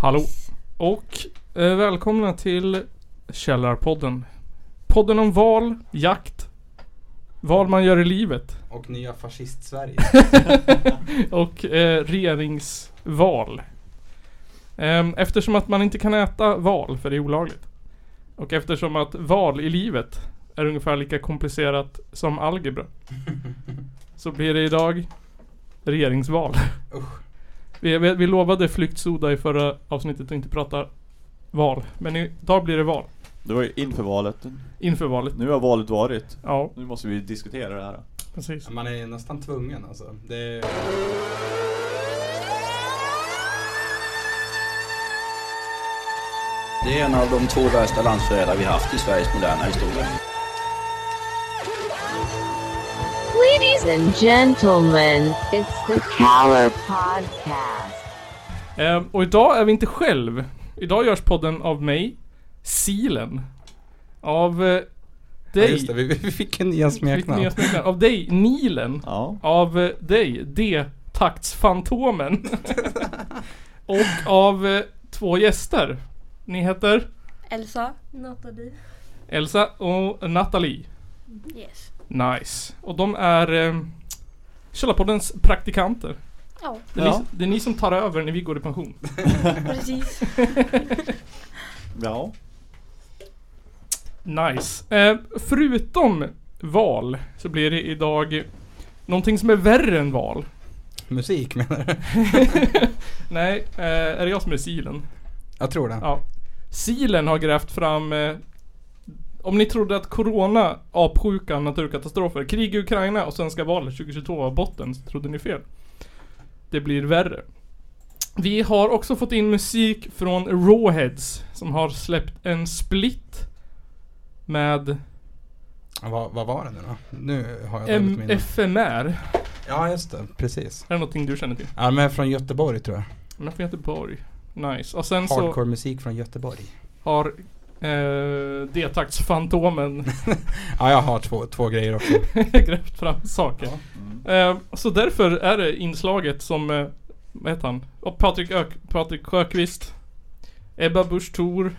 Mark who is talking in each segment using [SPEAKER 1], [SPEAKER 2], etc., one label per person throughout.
[SPEAKER 1] Hallå och eh, välkomna till Källarpodden. Podden om val, jakt, val man gör i livet
[SPEAKER 2] Och nya fascist-Sverige.
[SPEAKER 1] och eh, regeringsval. Ehm, eftersom att man inte kan äta val för det är olagligt. Och eftersom att val i livet är ungefär lika komplicerat som algebra. Så blir det idag regeringsval.
[SPEAKER 2] Usch.
[SPEAKER 1] Vi, vi, vi lovade flyktsoda i förra avsnittet att inte prata val. Men idag blir det val.
[SPEAKER 3] Det var ju inför valet.
[SPEAKER 1] Inför valet.
[SPEAKER 3] Nu har valet varit.
[SPEAKER 1] Ja,
[SPEAKER 3] Nu måste vi diskutera det här.
[SPEAKER 1] precis.
[SPEAKER 2] Man är nästan tvungen alltså. Det är...
[SPEAKER 4] Det är en av de två värsta landsförrädare vi haft i Sveriges moderna historia.
[SPEAKER 5] Ladies and gentlemen, it's the Caller Podcast.
[SPEAKER 1] Ehm, och idag är vi inte själv. Idag görs podden av mig, Silen. Av eh,
[SPEAKER 2] Ja,
[SPEAKER 1] dig.
[SPEAKER 2] just det, vi, vi fick en nya
[SPEAKER 1] Mitt nya
[SPEAKER 2] smeknamn.
[SPEAKER 1] smeknamn. Av dig, Nilen.
[SPEAKER 3] Ja.
[SPEAKER 1] Av eh, dig, D-taktsfantomen. och av eh, två gäster. Ni heter
[SPEAKER 6] Elsa, Nathalie.
[SPEAKER 1] Elsa och Nathalie.
[SPEAKER 6] Yes.
[SPEAKER 1] Nice. Och de är eh, Källarpoddens praktikanter.
[SPEAKER 6] Ja,
[SPEAKER 1] Det är,
[SPEAKER 3] Ja.
[SPEAKER 1] ni, det är ni som tar över när vi går i pension.
[SPEAKER 6] precis.
[SPEAKER 3] Ja.
[SPEAKER 1] Nice. Eh, förutom val så blir det idag någonting som är värre än val.
[SPEAKER 2] Musik menar du?
[SPEAKER 1] Nej, eh, är det jag som är silen?
[SPEAKER 2] Jag tror det.
[SPEAKER 1] Ja. Silen har grävt fram eh, om ni trodde att corona, apsjukan, naturkatastrofer, krig i Ukraina och svenska valet 2022 var botten så trodde ni fel. Det blir värre. Vi har också fått in musik från Rawheads som har släppt en split med
[SPEAKER 2] Vad, vad var det nu då? Nu har jag dåligt minne.
[SPEAKER 1] MFMR.
[SPEAKER 2] Ja just det, precis.
[SPEAKER 1] Är det någonting du känner till?
[SPEAKER 2] Ja men från Göteborg tror jag.
[SPEAKER 1] Men från Göteborg. Nice. Och sen så
[SPEAKER 2] Hardcore musik från Göteborg.
[SPEAKER 1] har eh, D-taktsfantomen
[SPEAKER 2] Ja jag har två, två grejer också.
[SPEAKER 1] grävt fram saker.
[SPEAKER 3] Mm.
[SPEAKER 1] Eh, så därför är det inslaget som, eh, vad heter han? Och Patrik, Ök, Patrik Sjöqvist, Ebba Busch Thor,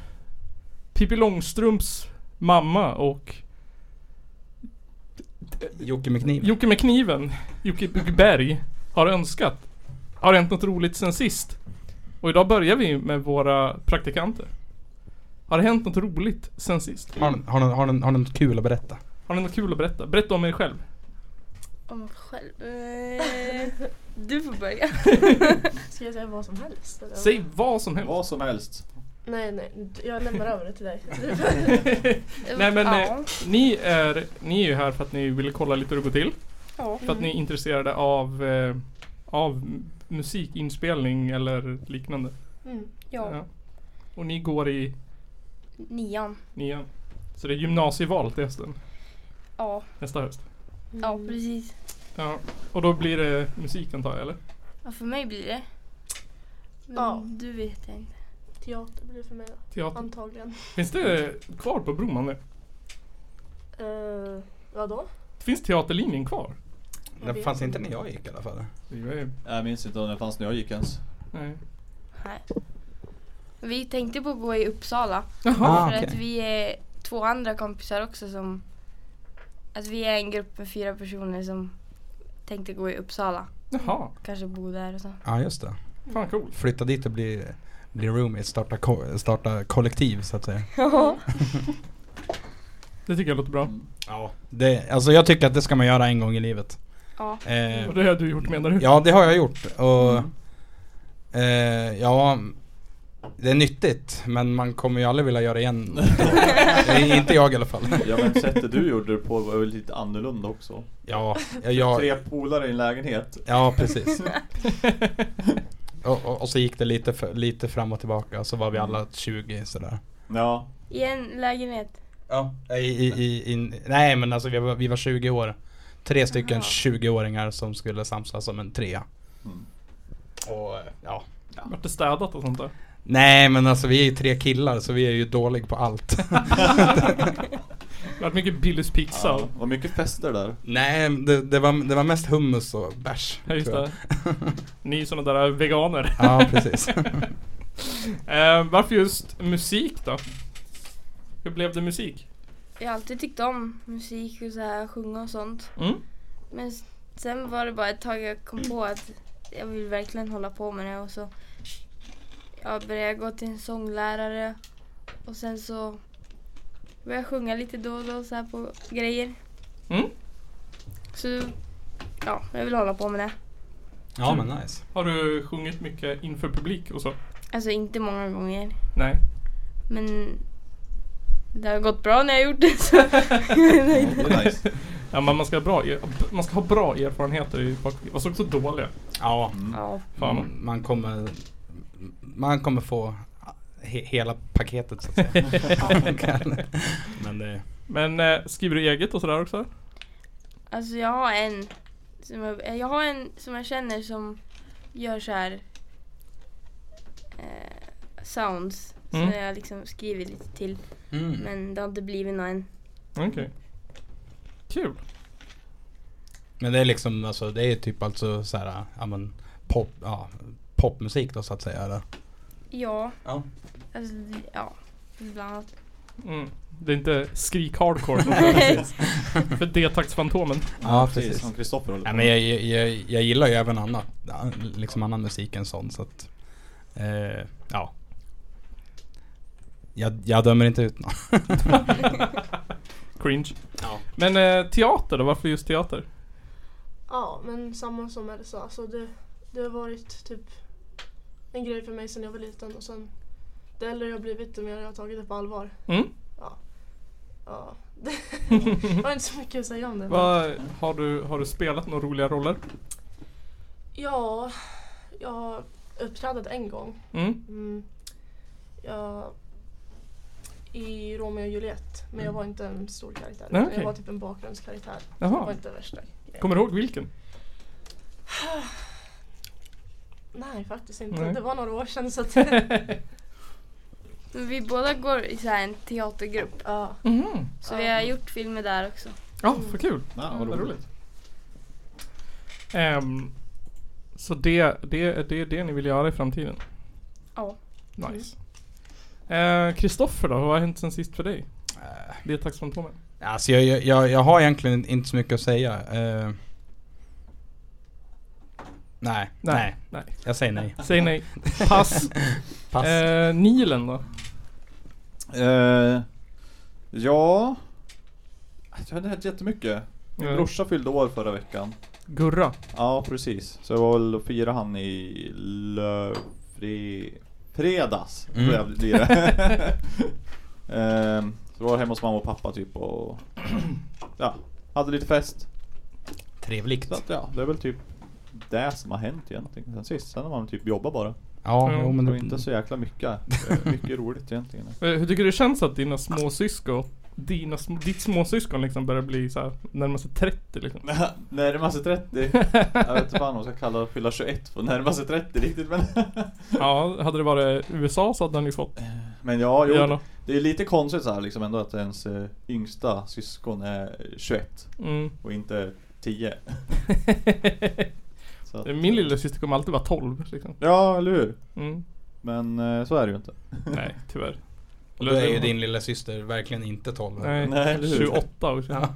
[SPEAKER 1] Pippi Långstrumps mamma och
[SPEAKER 2] Jocke med kniv.
[SPEAKER 1] Jocke med kniven, Jocke Berg, har önskat. Har hänt något roligt sen sist? Och idag börjar vi med våra praktikanter. Har det hänt något roligt sen sist?
[SPEAKER 2] Har ni- har ni- har ni- har ni något kul att berätta?
[SPEAKER 1] Har ni något kul att berätta? Berätta om er själv.
[SPEAKER 6] Om mig själv. Eh, du får börja.
[SPEAKER 7] Ska jag säga vad som helst? Eller?
[SPEAKER 1] Säg vad som helst.
[SPEAKER 3] Vad som helst.
[SPEAKER 7] Nej, nej, jag lämnar över det till dig.
[SPEAKER 1] Nej men
[SPEAKER 6] ja.
[SPEAKER 1] eh, ni, är, ni är ju här för att ni ville kolla lite hur det går till.
[SPEAKER 6] Ja.
[SPEAKER 1] eh, För att
[SPEAKER 7] Mm.
[SPEAKER 1] ni är intresserade av, eh, av m- musikinspelning eller liknande.
[SPEAKER 7] Mm.
[SPEAKER 6] ja.
[SPEAKER 1] Och ni går i
[SPEAKER 6] Nian.
[SPEAKER 1] nian. Så det är gymnasieval till hösten.
[SPEAKER 6] Ja,
[SPEAKER 1] Nästa höst.
[SPEAKER 6] ja precis.
[SPEAKER 1] Ja. Och då blir det musik antar jag eller?
[SPEAKER 6] Ja, för mig blir det. Men
[SPEAKER 7] Ja.
[SPEAKER 6] du vet jag inte.
[SPEAKER 7] Teater blir det för mig då,
[SPEAKER 1] Teater.
[SPEAKER 7] antagligen.
[SPEAKER 1] Finns det kvar på Broman nu?
[SPEAKER 7] Uh, vadå?
[SPEAKER 1] Finns teaterlinjen kvar?
[SPEAKER 7] Jag
[SPEAKER 2] Det
[SPEAKER 7] vet
[SPEAKER 2] fanns inte när jag gick i alla fall.
[SPEAKER 1] Det gör ju-
[SPEAKER 3] Jag minns inte om den fanns när jag gick ens.
[SPEAKER 1] Nej.
[SPEAKER 6] Nej. Vi tänkte på att gå i Uppsala.
[SPEAKER 1] Jaha.
[SPEAKER 2] Ah,
[SPEAKER 6] för
[SPEAKER 2] okej.
[SPEAKER 6] att vi är två andra kompisar också som... Alltså vi är en grupp med fyra personer som tänkte gå i Uppsala.
[SPEAKER 1] Jaha.
[SPEAKER 6] Kanske bo där och så.
[SPEAKER 2] Ja just det.
[SPEAKER 1] Fan coolt.
[SPEAKER 2] Flytta dit och bli, bli roomies, starta, ko- starta kollektiv så att säga.
[SPEAKER 1] Det tycker jag låter bra.
[SPEAKER 3] Mm.
[SPEAKER 2] Ja. Det, alltså jag tycker att det ska man göra en gång i livet.
[SPEAKER 6] Ja.
[SPEAKER 2] Eh,
[SPEAKER 1] Och det Mm. har du gjort menar du?
[SPEAKER 2] Ja, det har jag gjort. Och, eh, ja, det är nyttigt men man kommer ju aldrig vilja göra igen. Det är inte jag i alla fall.
[SPEAKER 3] Ja men sättet du gjorde det på var väl lite annorlunda också.
[SPEAKER 2] Ja, jag, jag,
[SPEAKER 3] Tre polare i en lägenhet.
[SPEAKER 2] ja precis. Och, och, och så gick det lite, för, lite fram och tillbaka så var vi alla 20 sådär.
[SPEAKER 3] Ja.
[SPEAKER 6] I en lägenhet.
[SPEAKER 2] Ja. I, i, i, i, nej men alltså vi var, vi var 20 år. Tre stycken
[SPEAKER 1] Ah.
[SPEAKER 6] Jaha.
[SPEAKER 2] 20-åringar som skulle samsas som en trea.
[SPEAKER 3] Mm.
[SPEAKER 2] Och eh, ja.
[SPEAKER 1] Vart det städat och sånt där?
[SPEAKER 2] Nej men alltså vi är ju tre killar så vi är ju dålig på allt.
[SPEAKER 1] Det har varit mycket Billys pizza
[SPEAKER 3] ja.
[SPEAKER 1] och...
[SPEAKER 3] Var mycket fester där.
[SPEAKER 2] Nej, det, det, var, det var mest hummus och bärs.
[SPEAKER 1] Ja just
[SPEAKER 2] tror jag.
[SPEAKER 1] det. Ni är såna där eh, veganer.
[SPEAKER 2] Ja, precis.
[SPEAKER 1] Eh, varför just musik då? Hur blev det musik?
[SPEAKER 6] Jag har alltid tyckt om musik och så här, sjunga och sånt.
[SPEAKER 1] Mm.
[SPEAKER 6] Men s- sen var det bara ett tag jag kom på att jag vill verkligen hålla på med det och så jag började gå till en sånglärare och sen så började jag sjunga lite då och då så här på grejer.
[SPEAKER 1] Mm.
[SPEAKER 6] Så ja, jag vill hålla på med det.
[SPEAKER 2] Ja men nice.
[SPEAKER 1] Har du sjungit mycket inför publik och så?
[SPEAKER 6] Alltså inte många gånger
[SPEAKER 1] Nej.
[SPEAKER 6] men det har gått bra när jag gjort det så
[SPEAKER 3] Ja, det är nice.
[SPEAKER 1] Ja men man ska ha bra, er- man ska ha bra erfarenheter i bak- Och så också dåliga.
[SPEAKER 2] Ja.
[SPEAKER 3] Mm.
[SPEAKER 6] ja.
[SPEAKER 1] Fan.
[SPEAKER 2] Mm, Man kommer, man kommer få he, hela paketet så att säga. men det,
[SPEAKER 1] Men eh, skriver du eget och sådär också?
[SPEAKER 6] Alltså jag har en som jag, jag har en som jag känner som gör så här eh, sounds
[SPEAKER 1] Mm.
[SPEAKER 6] som jag liksom skriver lite till
[SPEAKER 2] mm.
[SPEAKER 6] men det har inte blivit någon än.
[SPEAKER 1] Okej. Kul.
[SPEAKER 2] Men det är liksom alltså, det är typ alltså så här, ja men pop, ja, popmusik då så att säga. Eller?
[SPEAKER 6] Ja,
[SPEAKER 2] Ja.
[SPEAKER 6] alltså ja, bland annat.
[SPEAKER 1] Mm. Det är inte skrik hardcore. för det är tax Fantomen.
[SPEAKER 2] Ja
[SPEAKER 3] Precis,
[SPEAKER 2] precis.
[SPEAKER 3] som Kristoffer håller
[SPEAKER 2] Ja,
[SPEAKER 3] på
[SPEAKER 2] men
[SPEAKER 3] med.
[SPEAKER 2] jag, jag, jag, jag gillar ju även annat, ja, liksom annan musik än sån så att, eh, ja. Jag, jag dömer inte ut någon.
[SPEAKER 1] Cringe.
[SPEAKER 2] Ja.
[SPEAKER 1] Men eh, teater då? Varför just teater?
[SPEAKER 7] Ja, men samma som Elsa. Alltså det, det har varit typ en grej för mig sedan jag var liten och sen det äldre jag har blivit det mer jag har tagit det på allvar.
[SPEAKER 1] Mm.
[SPEAKER 7] Ja. jag har inte så mycket att säga om det.
[SPEAKER 1] Vad, har, du, har du spelat några roliga roller?
[SPEAKER 7] Ja, jag har uppträdat en gång.
[SPEAKER 1] Mm.
[SPEAKER 7] Mm. Jag, I Romeo och Juliet. Men jag var inte en stor karaktär.
[SPEAKER 1] Mm. Nej,
[SPEAKER 7] utan
[SPEAKER 1] okej.
[SPEAKER 7] Jag var typ en bakgrundskaraktär. Jag var
[SPEAKER 1] Jaha.
[SPEAKER 7] inte värsta grejen.
[SPEAKER 1] Kommer du ihåg vilken?
[SPEAKER 7] Nej, faktiskt inte.
[SPEAKER 1] Nej.
[SPEAKER 7] Det var några år sedan så att...
[SPEAKER 6] Men vi båda går i så här en teatergrupp
[SPEAKER 7] ja.
[SPEAKER 1] Mhm.
[SPEAKER 6] så vi har gjort filmer där också.
[SPEAKER 1] Ja, vad kul.
[SPEAKER 3] Ja,
[SPEAKER 1] Vad
[SPEAKER 3] vad roligt.
[SPEAKER 1] roligt. Ehm, så det, det, det är det ni vill göra i framtiden?
[SPEAKER 6] Ja.
[SPEAKER 1] Nice. Eh, Kristoffer då, vad har hänt sen sist för dig? Det är tax Fantomen.
[SPEAKER 2] Eh, Alltså jag, jag, jag, jag har egentligen inte så mycket att säga. Eh, nej, nej,
[SPEAKER 1] nej.
[SPEAKER 2] Jag säger nej.
[SPEAKER 1] Säg nej. Pass.
[SPEAKER 2] Pass.
[SPEAKER 1] Eh, Nilen då?
[SPEAKER 3] Eh, ja... Jag har inte hänt jättemycket. Min
[SPEAKER 1] Ja.
[SPEAKER 3] brorsa fyllde år förra veckan.
[SPEAKER 1] Gurra.
[SPEAKER 3] Ja, precis. Så jag var väl och firade han i lö... Fri... fredags.
[SPEAKER 2] Mm.
[SPEAKER 3] tror jag blir det. Ehm, så var jag hemma hos mamma och pappa typ och... Ja, hade lite fest.
[SPEAKER 2] Trevligt.
[SPEAKER 3] Så att, ja, det är väl typ det som har hänt egentligen sen sist. Sen har man typ jobbat bara.
[SPEAKER 2] Ja,
[SPEAKER 1] Ja,
[SPEAKER 2] jo, men
[SPEAKER 3] Det var
[SPEAKER 2] det,
[SPEAKER 3] inte så jäkla mycket. eh, Mycket roligt egentligen.
[SPEAKER 1] Eh, hur tycker du det känns att dina småsyskon dina, sm- ditt småsyskon liksom börjar bli så här närmar sig 30 liksom.
[SPEAKER 3] Närmar sig 30. Jag vet inte fan om jag ska kalla det att fylla 21 för närmar sig 30 riktigt men...
[SPEAKER 1] Ja, hade det varit USA så hade han ju fått
[SPEAKER 3] Men ja, jo,
[SPEAKER 1] göra.
[SPEAKER 3] Det är lite konstigt så här liksom ändå att ens eh, yngsta syskon är 21
[SPEAKER 1] Mm.
[SPEAKER 3] och inte 10. Så att- eh,
[SPEAKER 1] Min lilla syster kommer alltid vara 12 liksom.
[SPEAKER 3] Ja, eller hur?
[SPEAKER 1] Mm.
[SPEAKER 3] Men eh, så är det ju inte.
[SPEAKER 1] Nej, tyvärr.
[SPEAKER 2] och då är ju din lilla syster verkligen inte 12.
[SPEAKER 1] Nej,
[SPEAKER 3] Nej, eller hur?
[SPEAKER 1] 28 och ja.
[SPEAKER 2] Ja.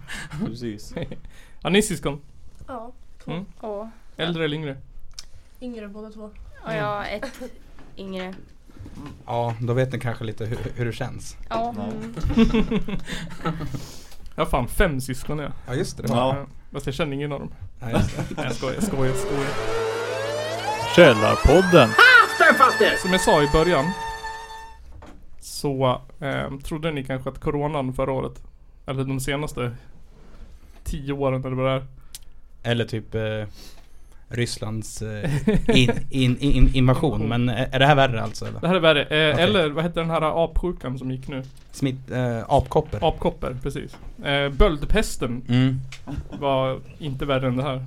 [SPEAKER 3] Precis.
[SPEAKER 1] ja, ni är syskon.
[SPEAKER 7] ja,
[SPEAKER 6] Och,
[SPEAKER 1] Äldre eller yngre?
[SPEAKER 7] yngre båda två.
[SPEAKER 6] och jag har ett yngre.
[SPEAKER 2] Ja, då vet ni kanske lite hur, hur det känns.
[SPEAKER 6] Ja,
[SPEAKER 3] Ja.
[SPEAKER 1] Jag har fan fem syskon jag.
[SPEAKER 2] Ja, just det. det var-
[SPEAKER 3] Ja.
[SPEAKER 1] Fast jag känner ingen av dem.
[SPEAKER 2] Ja, just det.
[SPEAKER 1] Nej, jag skojar, jag skojar, jag skojar.
[SPEAKER 3] Källarpodden!
[SPEAKER 1] Som jag sa i början. Så eh, trodde ni kanske att coronan förra året. Eller de senaste tio åren eller vad det är.
[SPEAKER 2] Eller typ eh, Rysslands eh, in, in, in, invasion. Men är är det här värre alltså? Eller?
[SPEAKER 1] Det här är värre. Eh,
[SPEAKER 2] Okej.
[SPEAKER 1] Eller vad hette den här apsjukan som gick nu?
[SPEAKER 2] Smitt, eh, apkoppor?
[SPEAKER 1] Apkoppor, precis. Eh, böldpesten
[SPEAKER 2] Mm.
[SPEAKER 1] var inte värre än det här.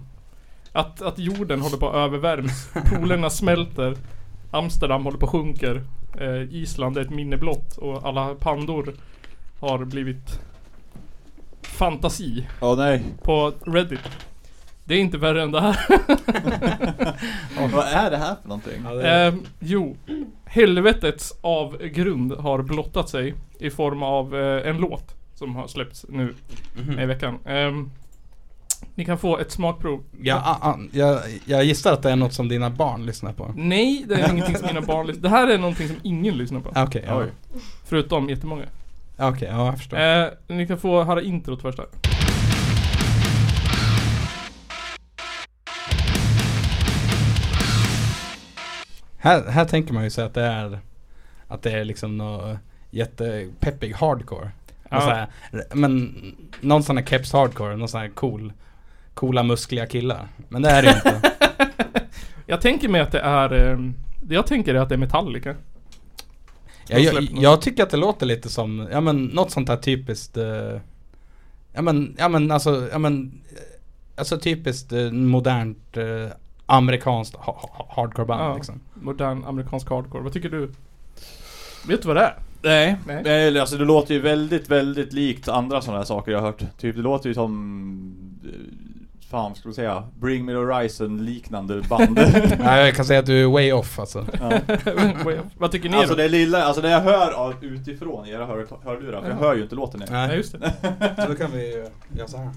[SPEAKER 1] Att, att jorden håller på att övervärms, polerna smälter, Amsterdam håller på att sjunker, eh, Island är ett minne blott och alla pandor har blivit fantasi
[SPEAKER 3] Åh nej.
[SPEAKER 1] på Reddit. Det är inte värre än det här.
[SPEAKER 3] Vad är det här för någonting?
[SPEAKER 2] Ja, det är,
[SPEAKER 1] Ehm, jo, helvetets avgrund har blottat sig i form av eh, en låt som har släppts nu
[SPEAKER 2] Mhm.
[SPEAKER 1] i veckan. Ehm, ni kan få ett smakprov.
[SPEAKER 2] jag, a- a- jag, jag gissar att det är något som dina barn lyssnar på.
[SPEAKER 1] Nej, det är ingenting som mina barn lyssnar Det här är någonting som ingen lyssnar på.
[SPEAKER 2] Ah, Okej, ja.
[SPEAKER 3] Oj.
[SPEAKER 1] Förutom jättemånga.
[SPEAKER 2] Ah, okej, ja jag förstår.
[SPEAKER 1] Eh, ni kan få höra introt först här.
[SPEAKER 2] Här, här tänker man ju sig att det är Att det är liksom något jättepeppig hardcore
[SPEAKER 1] Ja.
[SPEAKER 2] ja. så här, Men någon sån här keps hardcore, någon sån här cool Coola muskliga killar Men det är det ju inte
[SPEAKER 1] Jag tänker mig att det är... Eh, det jag tänker är att det är Metallica.
[SPEAKER 2] jag, jag,
[SPEAKER 1] släppt något.
[SPEAKER 2] jag tycker att det låter lite som, ja men något sånt här typiskt eh, Ja men, ja men alltså, ja men eh, Alltså typiskt eh, modernt eh, Amerikanskt ha, ha, hardcore band
[SPEAKER 1] Ja.
[SPEAKER 2] liksom
[SPEAKER 1] Modern amerikansk hardcore. Vad tycker du? Vet du vad det är?
[SPEAKER 3] Nej.
[SPEAKER 1] Nej.
[SPEAKER 3] Nej. Alltså det låter ju väldigt, väldigt likt andra sådana här saker jag har hört. Typ det låter ju som... eh, Fan, ska vi säga? Bring Me The Horizon liknande band.
[SPEAKER 2] ja, Jag kan säga att du är way off alltså
[SPEAKER 3] ja.
[SPEAKER 1] vad tycker ni
[SPEAKER 3] Alltså
[SPEAKER 1] då?
[SPEAKER 3] det lilla, alltså det jag hör av, utifrån i era hör, hörlurar, för jag
[SPEAKER 1] Ja.
[SPEAKER 3] hör ju inte låten nu.
[SPEAKER 1] Ja, just det.
[SPEAKER 2] Så då kan vi eh, göra så här.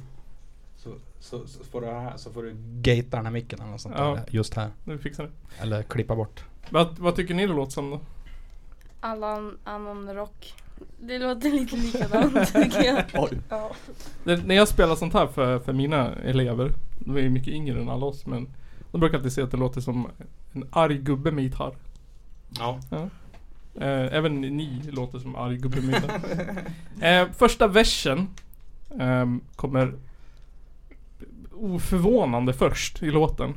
[SPEAKER 2] Så, så, så får du här, så får du gatea den här micken eller något sånt
[SPEAKER 1] Ja.
[SPEAKER 2] där, just här.
[SPEAKER 1] Nu fixar det.
[SPEAKER 2] Eller klippa bort.
[SPEAKER 1] Vad, vad tycker ni det låter som då?
[SPEAKER 6] All an- annan rock. Det låter lite likadant tycker jag.
[SPEAKER 3] Oj.
[SPEAKER 6] Ja.
[SPEAKER 1] Det, när jag spelar sånt här för, för mina elever, de är ju mycket yngre än alla oss men de brukar alltid säga att det låter som en arg gubbe med gitarr.
[SPEAKER 2] Ja.
[SPEAKER 1] Eh, även ni låter som arg gubbe med gitarr. eh, första versen ehm, kommer oförvånande först i låten.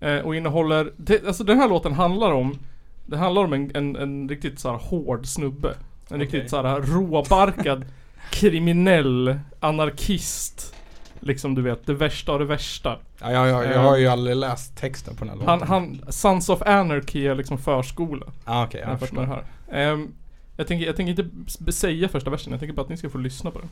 [SPEAKER 1] Eh, och innehåller, det, alltså den här låten handlar om Det handlar om en, en, en riktigt så här hård snubbe. En riktigt så här råbarkad kriminell anarkist. Liksom du vet, det värsta av det värsta.
[SPEAKER 2] Ja, jag, jag, jag har ju aldrig läst texten på den här låten.
[SPEAKER 1] Han, han, Sons of Anarchy är liksom förskola.
[SPEAKER 2] ah, okej,
[SPEAKER 1] Jag,
[SPEAKER 2] jag förstår.
[SPEAKER 1] här. Ehm, jag, tänker, jag tänker inte s- säga första versen, jag tänker bara att ni ska få lyssna på den.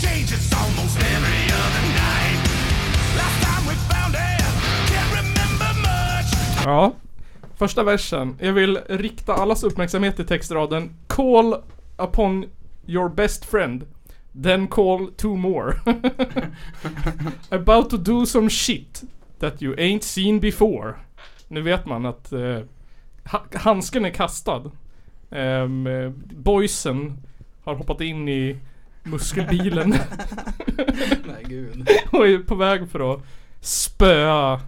[SPEAKER 8] Changes almost every other night. Last time we found it, can't remember much.
[SPEAKER 1] Ja. Första versen. Jag vill rikta allas uppmärksamhet till textraden Call upon your best friend. Then call two more. About to do some shit that you ain't seen before. Nu vet man att eh, ha- handsken är kastad. Ehm, eh, boysen har hoppat in i muskelbilen.
[SPEAKER 2] Nej gud.
[SPEAKER 1] och är på väg för att spöa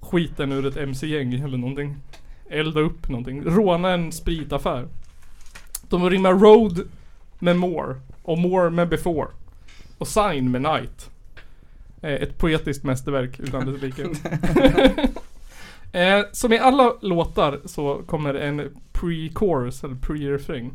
[SPEAKER 1] skiten ur ett MC-gäng eller någonting. Elda upp någonting. Råna en spritaffär. De rimmar road med more och more med before. Och sign med night. Eh, Ett poetiskt mästerverk utan dess like. eh, som i alla låtar så kommer en pre-chorus eller pre-refräng.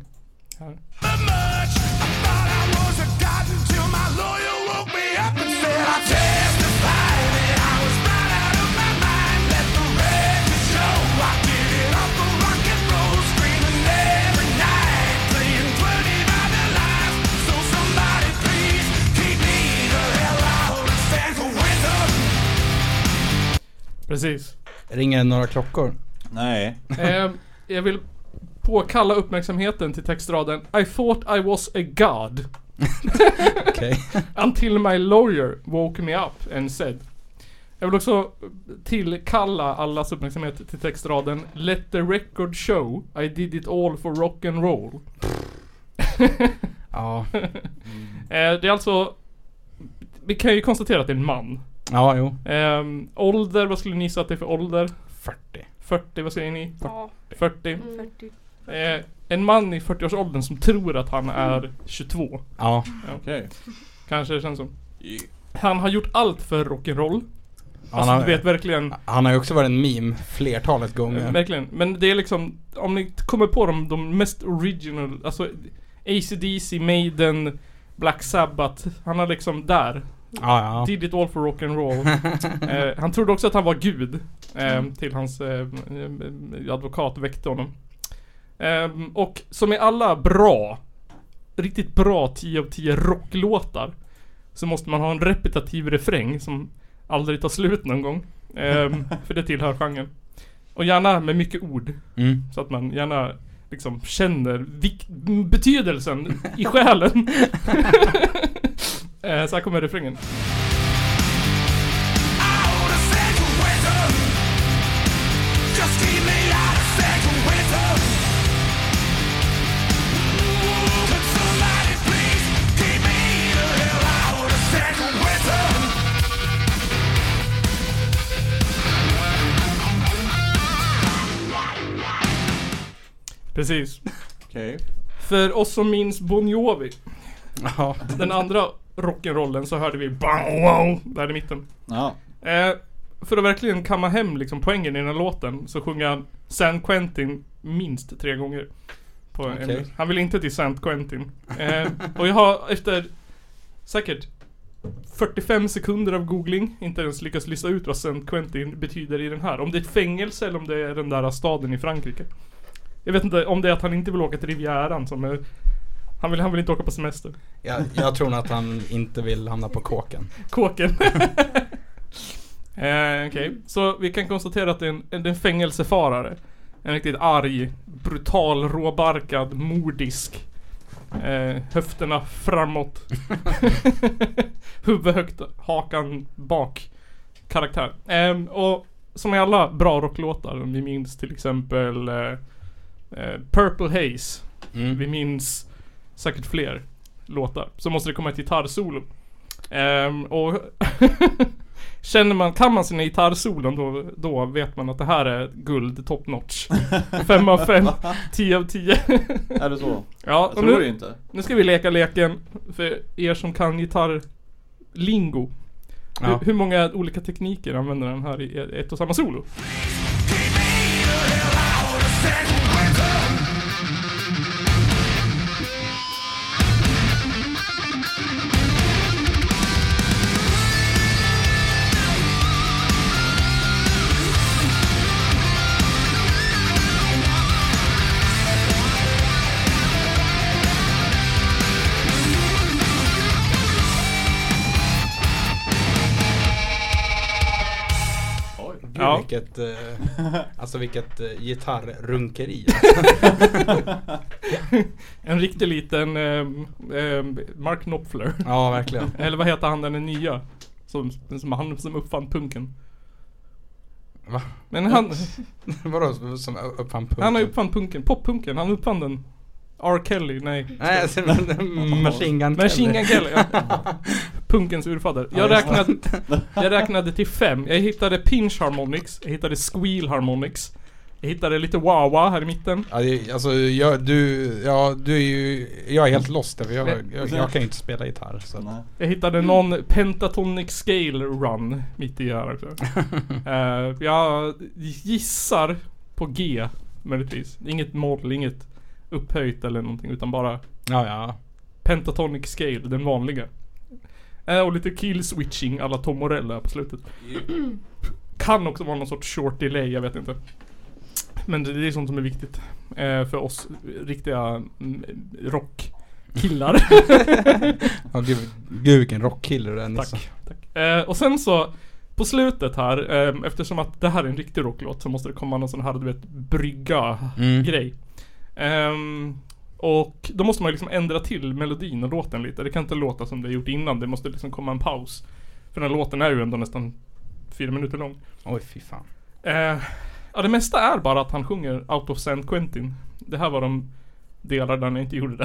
[SPEAKER 1] Här.
[SPEAKER 8] much. I thought I was a god until my lawyer woke me up and said I testified that I was right out of my mind. Let the record show I get it off the rock and roll, screaming every night, playing 20 by the lights. So somebody please keep me the hell out of San Quentin.
[SPEAKER 1] Precis.
[SPEAKER 2] Ringer några klockor?
[SPEAKER 3] Nej.
[SPEAKER 1] Eh, jag vill påkalla uppmärksamheten till textraden I thought I was a god
[SPEAKER 2] Okej.
[SPEAKER 1] until my lawyer woke me up and said. Jag vill också tillkalla allas uppmärksamhet till textraden Let the record show I did it all for rock and roll.
[SPEAKER 2] Ja.
[SPEAKER 1] Eh, det är alltså vi kan ju konstatera att det är en man.
[SPEAKER 2] Ja, jo.
[SPEAKER 1] Ehm, ålder, vad skulle ni gissa att det är för ålder?
[SPEAKER 2] 40.
[SPEAKER 1] 40, vad säger ni?
[SPEAKER 6] ja.
[SPEAKER 1] 40?
[SPEAKER 7] Mm.
[SPEAKER 6] 40.
[SPEAKER 1] Eh, en man i 40-årsåldern som tror att han är 22.
[SPEAKER 2] Ja.
[SPEAKER 3] Okej.
[SPEAKER 1] Kanske det känns som. Han har gjort allt för rock'n'roll.
[SPEAKER 2] Han
[SPEAKER 1] Alltså
[SPEAKER 2] har,
[SPEAKER 1] du vet verkligen. Eh,
[SPEAKER 2] han har ju också varit en meme flertalet gånger.
[SPEAKER 1] Verkligen. Men det är liksom, om ni kommer på de, de mest original, alltså ACDC, Maiden, Black Sabbath. Han har liksom där.
[SPEAKER 2] Ja, ja.
[SPEAKER 1] Did it all for rock and roll. eh, han trodde också att han var gud. Eh, till hans eh, eh, advokat väckte honom. Ehm, och som i alla bra, riktigt bra 10 av 10 rocklåtar. Så måste man ha en repetitiv refräng som aldrig tar slut någon gång. Ehm, för det tillhör genren. Och gärna med mycket ord.
[SPEAKER 2] Mm.
[SPEAKER 1] Så att man gärna liksom känner vik- m- betydelsen i själen. Eh, Så här kommer refrängen. Precis.
[SPEAKER 3] Okej.
[SPEAKER 1] För oss som minns Bon Jovi,
[SPEAKER 2] Ja.
[SPEAKER 1] den andra rock'n'rollen, så hörde vi bang, wow, där i mitten.
[SPEAKER 3] Ja.
[SPEAKER 1] Eh, för att verkligen kamma hem liksom poängen i den här låten så sjunger han San Quentin minst tre gånger. På en-
[SPEAKER 2] Okej.
[SPEAKER 1] han vill inte till San Quentin. Eh, och jag har efter säkert 45 sekunder av googling inte ens lyckats lista ut vad San Quentin betyder i den här. Om det är ett fängelse eller om det är den där staden i Frankrike. Jag vet inte om det är att han inte vill åka till Rivieran som är... Han vill, han vill inte åka på semester.
[SPEAKER 2] Jag, jag tror nog att han inte vill hamna på kåken.
[SPEAKER 1] Kåken. eh, Okej, så vi kan konstatera att det är en, en, det är en fängelsefarare. En riktigt arg, brutal, råbarkad, mordisk. Eh, höfterna framåt. Huvud högt, hakan bak. Karaktär. Eh, och som i alla bra rocklåtar, vi minns till exempel eh, eh, Purple Haze. Vi
[SPEAKER 2] Mm.
[SPEAKER 1] minns säkert fler låtar. Så måste det komma ett gitarrsolo. Ehm, och Känner man, kan man sina gitarrsolon då, då vet man att det här är guld top notch. 5 av 5, 10 av 10.
[SPEAKER 3] Är det så?
[SPEAKER 1] ja,
[SPEAKER 3] Jag
[SPEAKER 1] och
[SPEAKER 3] tror det
[SPEAKER 1] nu,
[SPEAKER 3] inte.
[SPEAKER 1] nu ska vi leka leken för er som kan gitarrlingo.
[SPEAKER 2] Ja.
[SPEAKER 1] Hur, hur många olika tekniker använder den här i e, ett och samma solo?
[SPEAKER 3] Oj.
[SPEAKER 2] Gud,
[SPEAKER 1] Ja.
[SPEAKER 2] vilket, eh, alltså vilket eh, gitarrrunkeri.
[SPEAKER 1] En riktig liten ehm, ehm, Mark Knopfler.
[SPEAKER 2] ja, verkligen.
[SPEAKER 1] Eller vad heter han den är nya? Som, som han som uppfann punken.
[SPEAKER 2] Va?
[SPEAKER 1] Men han,
[SPEAKER 2] Vadå som uppfann punken?
[SPEAKER 1] han har uppfann punken, poppunken, han uppfann den. R. Kelly, nej.
[SPEAKER 2] Nej, alltså, Machine Gun
[SPEAKER 1] Machine Gun
[SPEAKER 2] Kelly.
[SPEAKER 1] Kelly, ja. Punkens urfader. Jag,
[SPEAKER 2] just det.
[SPEAKER 1] räknade, jag räknade till fem. Jag hittade pinch harmonics, jag hittade squeal harmonics. Jag hittade lite wawa här i mitten.
[SPEAKER 2] Ja, det- alltså jag, du, ja, du är ju, jag är helt lost där för jag, jag, jag kan ju inte spela gitarr. Så. att-
[SPEAKER 3] Nej.
[SPEAKER 1] Jag hittade någon pentatonic scale run mitt i här också. Eh, jag gissar på G möjligtvis. Inget moll, inget upphöjt eller någonting utan bara
[SPEAKER 2] Ja, ja.
[SPEAKER 1] pentatonic scale, den vanliga. Eh, och lite kill switching alla Tom Morell här på slutet. Kan också vara någon sorts short delay, jag vet inte. Men det, det är sånt som är viktigt eh, för oss riktiga mm, rockkillar.
[SPEAKER 2] ja gud, gud vilken rockkille du är Nisse.
[SPEAKER 1] Tack. tack. Eh, och sen så, på slutet här, ehm, eftersom att det här är en riktig rocklåt så måste det komma någon sån här, du vet,
[SPEAKER 2] Mm.
[SPEAKER 1] brygga-grej. Ehm, och då måste man ju liksom ändra till melodin och låten lite. Det kan inte låta som det gjort innan, det måste liksom komma en paus. För den här låten är ju ändå nästan fyra minuter lång.
[SPEAKER 2] Oj fy fan.
[SPEAKER 1] Eh, ja, det mesta är bara att han sjunger Out of San Quentin. Det här var de delar där han inte gjorde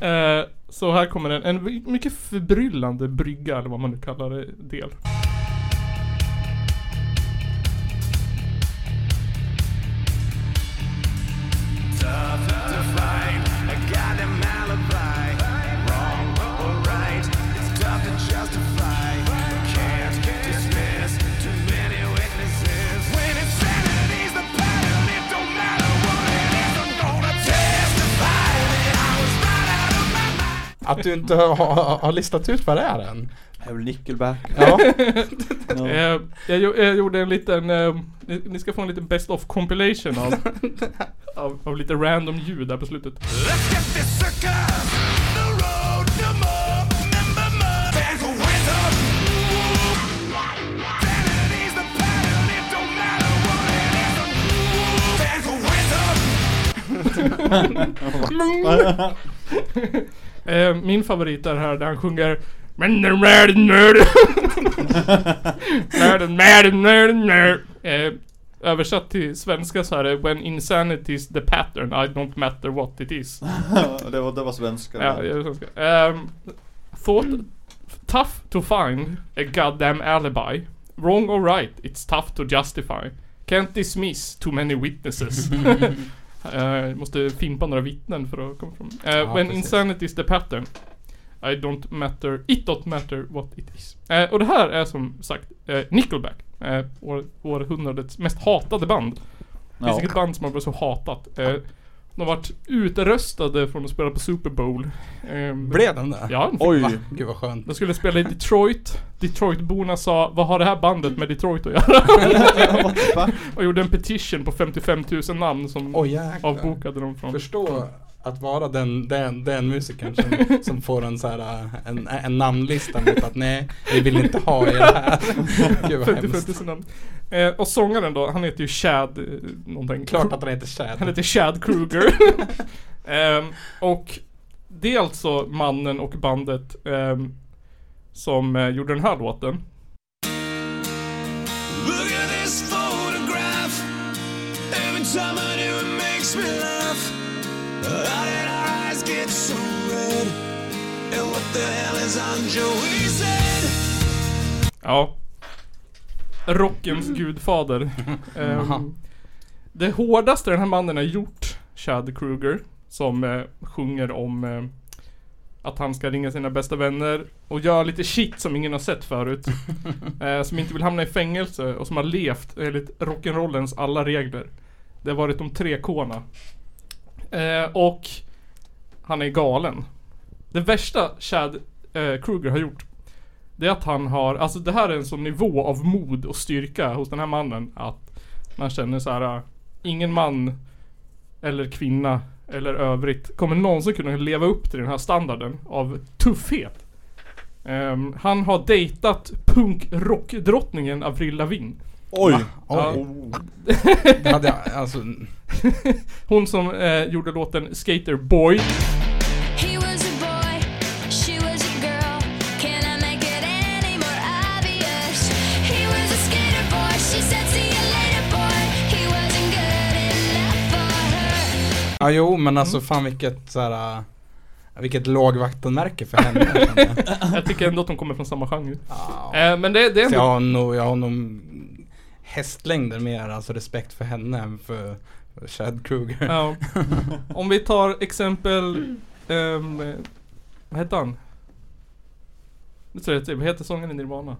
[SPEAKER 1] det. eh, så här kommer en, en mycket förbryllande brygga, eller vad man nu kallar det, del.
[SPEAKER 8] Testify that I was right out
[SPEAKER 2] Att du inte har, har, har listat ut vad det är än.
[SPEAKER 3] Jag vill Nickelback.
[SPEAKER 2] Ja.
[SPEAKER 3] Ja.
[SPEAKER 1] Eh, jag, gjo- jag gjorde en liten, eh, ni, ni ska få en liten best of compilation av, av, av lite random ljud där på slutet.
[SPEAKER 8] Let's get this sucker the road no more. Remember mud. There's a winter. Vanity's the pattern. It don't matter what it is. There's a winter.
[SPEAKER 1] Eh, min favorit är här där han sjunger Men den världen är Världen, världen, världen är Eh, Översatt till svenska så här är When insanity is the pattern I don't matter what it is.
[SPEAKER 3] det, var, det var svenska.
[SPEAKER 1] Ja, det är svenska. Ehm, thought tough to find a goddamn alibi. Wrong or right, it's tough to justify. Can't dismiss too many witnesses. Eh, måste fimpa några vittnen för att komma fram. Eh, when
[SPEAKER 2] precis.
[SPEAKER 1] insanity is the pattern. I don't matter, it don't matter what it is. Eh, och det här är som sagt eh, Nickelback. Eh, år, århundradets mest hatade band. Det finns
[SPEAKER 3] Ja.
[SPEAKER 1] inget band som har varit så hatat. Eh, de har varit utröstade från att spela på Super Bowl. Ehm,
[SPEAKER 2] Blev den det?
[SPEAKER 1] Ja, de fick-
[SPEAKER 2] Va?
[SPEAKER 3] Oj.
[SPEAKER 2] Gud vad skönt.
[SPEAKER 1] de skulle spela i Detroit. Detroitborna sa Vad har det här bandet med Detroit att göra?
[SPEAKER 3] Va?
[SPEAKER 1] och gjorde en petition på 55 000 namn som
[SPEAKER 2] Oj jäklar.
[SPEAKER 1] avbokade dem från...
[SPEAKER 2] Förstå att vara den, den, den musikern som, som får en, så här, äh, en, en namnlista mot att nej, vi vill inte ha er här. Gud vad
[SPEAKER 1] 55
[SPEAKER 2] hemskt.
[SPEAKER 1] 000 namn. Eh, och sångaren då, han heter ju Chad eh, någonting.
[SPEAKER 2] Klart att han heter
[SPEAKER 1] Han
[SPEAKER 2] Chad.
[SPEAKER 1] heter Chad Kruger. Ehm, och det är alltså mannen och bandet ehm, som eh, gjorde den här låten.
[SPEAKER 8] Look at this photograph. Every time I do it makes me laugh. How did our eyes get so red? And what the hell is on Joey's head?
[SPEAKER 1] Ja. Rockens gudfader. Ehm, det hårdaste den här mannen har gjort, Chad Kruger, som eh, sjunger om eh, att han ska ringa sina bästa vänner och göra lite shit som ingen har sett förut. eh, som inte vill hamna i fängelse och som har levt enligt rock'n'rollens alla regler. Det har varit de tre K'na. Eh, och han är galen. Det värsta Chad eh, Kruger har gjort det är att han har, alltså det här är en sån nivå av mod och styrka hos den här mannen att man känner så här. äh, Ingen man eller kvinna eller övrigt kommer någonsin kunna leva upp till den här standarden av tuffhet. Ehm, han har dejtat punkrockdrottningen Avril Lavigne.
[SPEAKER 3] Oj.
[SPEAKER 2] Oj,
[SPEAKER 3] Oh.
[SPEAKER 2] det hade jag, alltså,
[SPEAKER 1] Hon som eh, gjorde låten Skater Boy.
[SPEAKER 9] He was a boy, she was a girl. Can I make it any more obvious? He was a skater boy, she said, see you later, boy. He wasn't good enough for her.
[SPEAKER 2] ja jo men alltså
[SPEAKER 1] Mm.
[SPEAKER 2] fan vilket så här, äh, vilket lågvattenmärke för henne. jag känner.
[SPEAKER 1] Jag tycker ändå att de kommer från samma genre.
[SPEAKER 2] Ja.
[SPEAKER 1] Eh, men det, det är
[SPEAKER 2] Så
[SPEAKER 1] ändå
[SPEAKER 2] jag har nog, jag har nog hästlängder mer alltså respekt för henne än för för Chad Kruger.
[SPEAKER 1] Ja. Om vi tar exempel, ehm, vad heter han? Nu tror jag det, vad heter sången i Nirvana?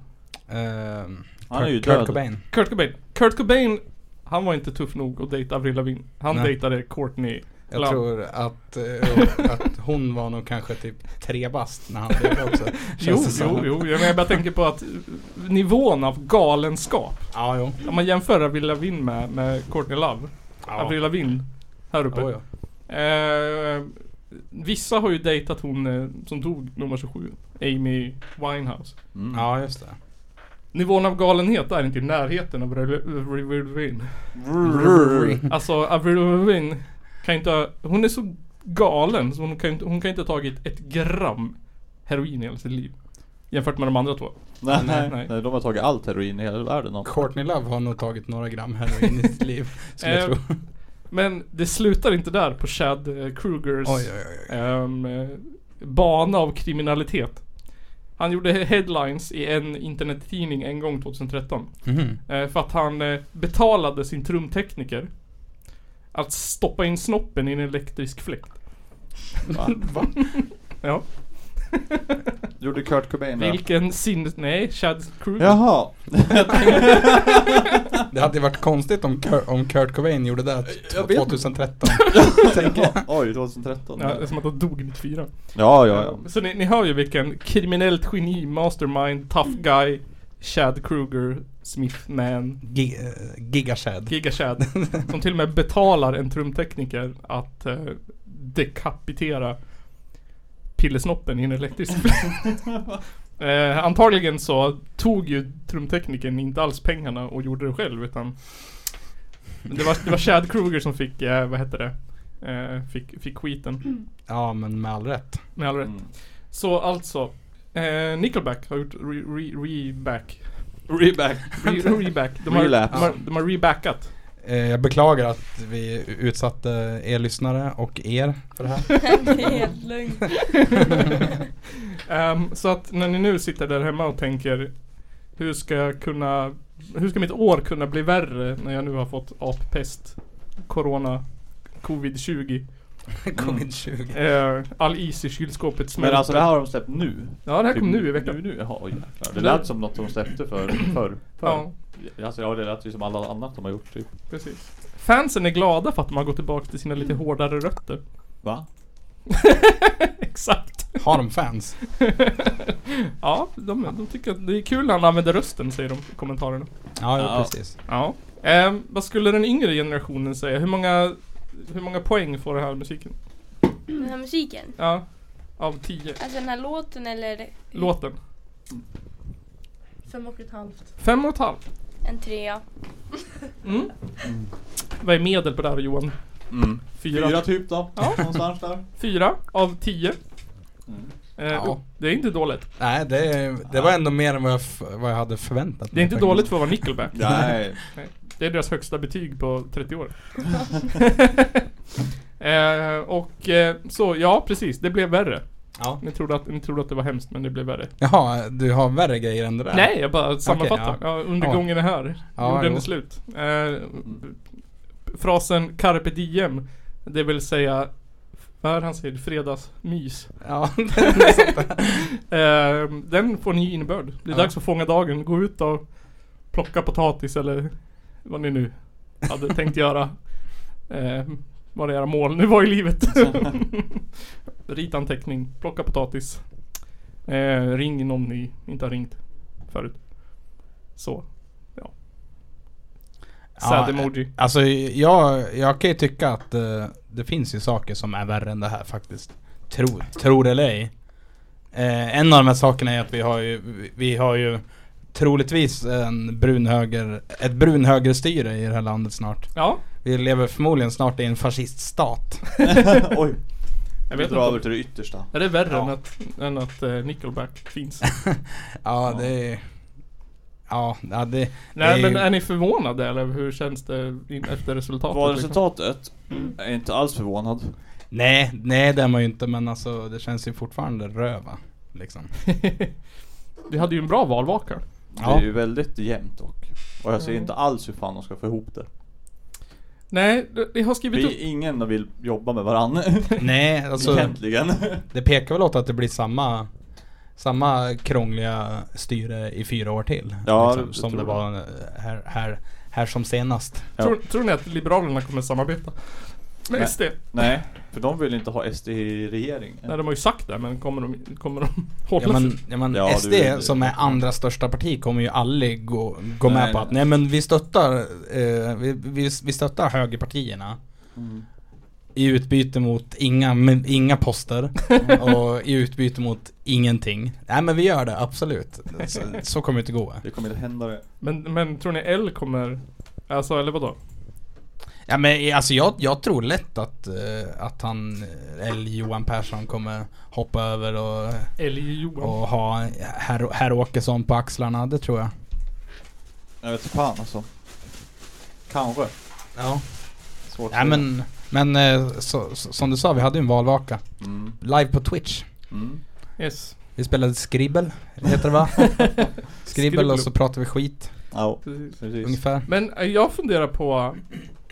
[SPEAKER 2] Ehm,
[SPEAKER 3] Han är ju
[SPEAKER 2] Kurt
[SPEAKER 3] död.
[SPEAKER 2] Cobain.
[SPEAKER 1] Kurt Cobain. Kurt Cobain, han var inte tuff nog att dejta Avril Lavigne. Han
[SPEAKER 2] Nej.
[SPEAKER 1] dejtade Courtney.
[SPEAKER 2] Jag
[SPEAKER 1] Eller-
[SPEAKER 2] tror att, eh, att hon var nog kanske typ tre bast när han blev det också. Känns
[SPEAKER 1] Jo,
[SPEAKER 2] det som.
[SPEAKER 1] jo, jo. Jag, menar, jag bara tänker på att eh, nivån av galenskap.
[SPEAKER 2] Ja, jo.
[SPEAKER 1] Om man jämför Avril Lavigne med, med Courtney Love.
[SPEAKER 2] Ja.
[SPEAKER 1] Avril Lavigne här uppe.
[SPEAKER 2] Jo, jo.
[SPEAKER 1] Eh, vissa har ju dejtat hon eh, som dog nummer 27. Amy Winehouse.
[SPEAKER 3] Mm.
[SPEAKER 2] ja, just det.
[SPEAKER 1] Nivån av galenhet är inte i närheten av Avril Lavigne.
[SPEAKER 3] Brrr.
[SPEAKER 1] Alltså Avril Lavigne kan inte ha- Hon är så galen så hon kan, inte- hon kan inte ha tagit ett gram heroin i hela sitt liv. Jämfört med de andra två.
[SPEAKER 3] Nej, nej,
[SPEAKER 1] nej.
[SPEAKER 3] nej. De har tagit allt heroin i hela världen. har de.
[SPEAKER 2] Courtney Love har nog tagit några gram heroin i sitt liv, skulle jag
[SPEAKER 1] Eh,
[SPEAKER 2] tro.
[SPEAKER 1] Men det slutar inte där på Chad eh, Krugers
[SPEAKER 2] Oj, oj, oj, oj.
[SPEAKER 1] ehm, eh, bana av kriminalitet. Han gjorde headlines i en internettidning en gång 2013.
[SPEAKER 2] Mhm.
[SPEAKER 1] Eh, för att han eh, betalade sin trumtekniker att stoppa in snoppen i en elektrisk fläkt.
[SPEAKER 3] Va?
[SPEAKER 1] Ja.
[SPEAKER 3] Gjorde Kurt Cobain det?
[SPEAKER 1] Vilken sinnes... Nej, Chad Kruger.
[SPEAKER 3] Jaha.
[SPEAKER 2] Det hade ju varit konstigt om, Kurt, om Kurt Cobain gjorde det
[SPEAKER 1] Jag vet.
[SPEAKER 2] 2013. tänker jag.
[SPEAKER 3] Oj, 2013.
[SPEAKER 1] Ja, det är som att han dog 94.
[SPEAKER 3] Ja, ja, ja.
[SPEAKER 1] Så ni, ni hör ju vilken kriminellt geni, mastermind, tough guy, Chad Kruger, Smith man,
[SPEAKER 2] Gi- eh, Gigashad.
[SPEAKER 1] Giga Chad. som till och med betalar en trumtekniker att eh, dekapitera pillesnoppen i en elektrisk eh, Antagligen så tog ju trumteknikern inte alls pengarna och gjorde det själv utan men det var, det var Chad Kruger som fick, eh, vad heter det? Eh, fick, fick skiten.
[SPEAKER 2] Ja men med all rätt.
[SPEAKER 1] Med all rätt.
[SPEAKER 3] Mm.
[SPEAKER 1] Så alltså, eh, Nickelback har gjort re, re, reback.
[SPEAKER 3] Reback.
[SPEAKER 1] Re, reback. De har, de
[SPEAKER 3] Relapse.
[SPEAKER 1] har, de har rebackat.
[SPEAKER 2] Eh, Jag beklagar att vi utsatte er lyssnare och er för det här.
[SPEAKER 6] Det är helt lugnt.
[SPEAKER 1] Ehm, så att när ni nu sitter där hemma och tänker Hur ska jag kunna Hur ska mitt år kunna bli värre när jag nu har fått appest Corona Covid-20
[SPEAKER 2] Mm. Covid-20.
[SPEAKER 1] eh, All is i kylskåpet smälter
[SPEAKER 3] Men alltså det här har de släppt nu?
[SPEAKER 1] Ja det här kom nu i
[SPEAKER 3] Nu,
[SPEAKER 1] veckan
[SPEAKER 3] nu. Jaha, oj, jäklar. Det lät som något de släppte för, förr.
[SPEAKER 1] Ja,
[SPEAKER 3] För. Ja. Alltså, ja, det lät ju som alla annat de har gjort typ.
[SPEAKER 1] precis Fansen är glada för att de har gått tillbaka till sina lite hårdare rötter
[SPEAKER 3] Va?
[SPEAKER 1] Exakt
[SPEAKER 2] Har de fans?
[SPEAKER 1] Ja, de, de tycker att det är kul när han använder rösten säger de i kommentarerna
[SPEAKER 2] Ja, ja
[SPEAKER 3] Ja.
[SPEAKER 2] precis.
[SPEAKER 1] Ja Ehm, Vad skulle den yngre generationen säga? Hur många Hur många poäng får den här musiken?
[SPEAKER 6] Den här musiken.
[SPEAKER 1] Ja. Av 10.
[SPEAKER 6] Alltså den här låten eller
[SPEAKER 1] Låten.
[SPEAKER 7] Fem och ett halvt.
[SPEAKER 1] Fem och ett halvt.
[SPEAKER 6] en trea.
[SPEAKER 1] Mm. Vad är medel på det här Johan?
[SPEAKER 3] Mm.
[SPEAKER 1] Fyra.
[SPEAKER 3] Fyra typ då? Ja. Någonstans där.
[SPEAKER 1] Fyra av tio.
[SPEAKER 3] Mm.
[SPEAKER 1] Eh,
[SPEAKER 2] Ja.
[SPEAKER 1] och Det är inte dåligt.
[SPEAKER 2] Nej det, det var ändå mer än vad jag, f- vad jag hade förväntat mig.
[SPEAKER 1] Det är inte
[SPEAKER 2] faktiskt.
[SPEAKER 1] dåligt för att vara Nickelback.
[SPEAKER 3] Nej.
[SPEAKER 1] Det är deras högsta betyg på 30 år. eh, och eh, så, ja precis. Det blev värre.
[SPEAKER 2] Ja.
[SPEAKER 1] Ni trodde, att, ni trodde att det var hemskt men det blev värre.
[SPEAKER 2] Jaha, du har värre grejer än det där?
[SPEAKER 1] Nej, jag bara sammanfattar.
[SPEAKER 2] Okej,
[SPEAKER 1] ja. under
[SPEAKER 2] Ja.
[SPEAKER 1] gången är här.
[SPEAKER 2] Ja,
[SPEAKER 1] gjorde den
[SPEAKER 2] jo.
[SPEAKER 1] det slut. Eh, frasen carpe diem, det vill säga, vad är det han säger, fredagsmys.
[SPEAKER 2] Ja,
[SPEAKER 1] Eh, den får ny innebörd. Det är
[SPEAKER 2] Ja.
[SPEAKER 1] dags att fånga dagen. Gå ut och plocka potatis eller vad ni nu hade tänkt göra. Eh, vad det är era mål nu var i livet. Rita en teckning, plocka potatis. Eh, ring någon ni inte har ringt förut. Så. Ja. Sad
[SPEAKER 2] Ja,
[SPEAKER 1] emoji.
[SPEAKER 2] Alltså jag, jag kan ju tycka att eh, det finns ju saker som är värre än det här faktiskt. Tro, tror eller ej. Eh, en av de här sakerna är att vi har ju, vi- vi har ju troligtvis en brunhöger, ett brunhögerstyre i det här landet snart.
[SPEAKER 1] Ja,
[SPEAKER 2] Vi lever förmodligen snart i en fasciststat.
[SPEAKER 3] Oj.
[SPEAKER 1] jag
[SPEAKER 3] Jag
[SPEAKER 1] vet
[SPEAKER 3] vet
[SPEAKER 1] inte.
[SPEAKER 3] drar över
[SPEAKER 1] om-
[SPEAKER 3] till det yttersta.
[SPEAKER 1] Är det värre
[SPEAKER 2] Ja.
[SPEAKER 1] än att, än att eh, Nickelback finns?
[SPEAKER 2] Ja, det är... Ja, ja det...
[SPEAKER 1] Nej
[SPEAKER 2] det är
[SPEAKER 1] men
[SPEAKER 2] ju,
[SPEAKER 1] är ni förvånade eller hur känns det in, efter resultatet?
[SPEAKER 3] Var
[SPEAKER 1] liksom?
[SPEAKER 3] resultatet? Jag är inte alls förvånad.
[SPEAKER 2] nej, nej det är man ju inte men alltså det känns ju fortfarande röva. Liksom.
[SPEAKER 1] Vi hade ju en bra valvaka.
[SPEAKER 2] Ja.
[SPEAKER 3] Det är ju väldigt jämnt dock. Och jag ser
[SPEAKER 1] Mm.
[SPEAKER 3] inte alls hur fan de ska få ihop det.
[SPEAKER 1] Nej, det- det har skrivit upp.
[SPEAKER 3] Vi, ingen vill jobba med varandra.
[SPEAKER 2] Nej, alltså...
[SPEAKER 3] Egentligen.
[SPEAKER 2] Det pekar väl åt att det blir samma Samma krångliga styre i fyra år till.
[SPEAKER 3] Ja, det- det
[SPEAKER 2] som det
[SPEAKER 3] tror
[SPEAKER 2] var eh, här, här, här som senast.
[SPEAKER 3] Ja.
[SPEAKER 1] Tror, tror ni att Liberalerna kommer samarbeta? Med
[SPEAKER 3] Nej.
[SPEAKER 1] SD?
[SPEAKER 3] Nej, för de vill inte ha SD i regering.
[SPEAKER 1] Nej de har ju sagt det men kommer de, kommer de hålla
[SPEAKER 2] Ja men,
[SPEAKER 1] sig?
[SPEAKER 2] ja, men
[SPEAKER 3] Ja,
[SPEAKER 2] SD
[SPEAKER 3] du-
[SPEAKER 2] som är andra största parti kommer ju aldrig gå, gå
[SPEAKER 3] Nej,
[SPEAKER 2] med på
[SPEAKER 3] nej.
[SPEAKER 2] att nej men vi stöttar, eh, vi, vi, vi stöttar högerpartierna.
[SPEAKER 3] Mm.
[SPEAKER 2] I utbyte mot inga, men, inga poster och i utbyte mot ingenting. Nej men vi gör det, absolut. Så, så kommer det inte gå.
[SPEAKER 3] Det kommer inte hända det.
[SPEAKER 1] Men, men tror ni L kommer... Alltså eller vadå?
[SPEAKER 2] Ja men eh, alltså jag, jag tror lätt att, eh, att han, eh, eller Johan Persson kommer hoppa över och,
[SPEAKER 1] L Johan?
[SPEAKER 2] och ha herr, herr Åkesson på axlarna, det tror jag.
[SPEAKER 3] Jag vet inte fan alltså. Kanske.
[SPEAKER 2] Ja.
[SPEAKER 3] Svårt
[SPEAKER 2] Nej men, men eh, så, så, som du sa, vi hade ju en valvaka.
[SPEAKER 3] Mm.
[SPEAKER 2] Live på Twitch.
[SPEAKER 3] Mm.
[SPEAKER 1] Yes.
[SPEAKER 2] Vi spelade Skribbel, heter det va? Skribbel och så pratade vi skit,
[SPEAKER 3] Ja,
[SPEAKER 1] Precis.
[SPEAKER 3] precis.
[SPEAKER 2] ungefär.
[SPEAKER 1] Men eh, jag funderar på...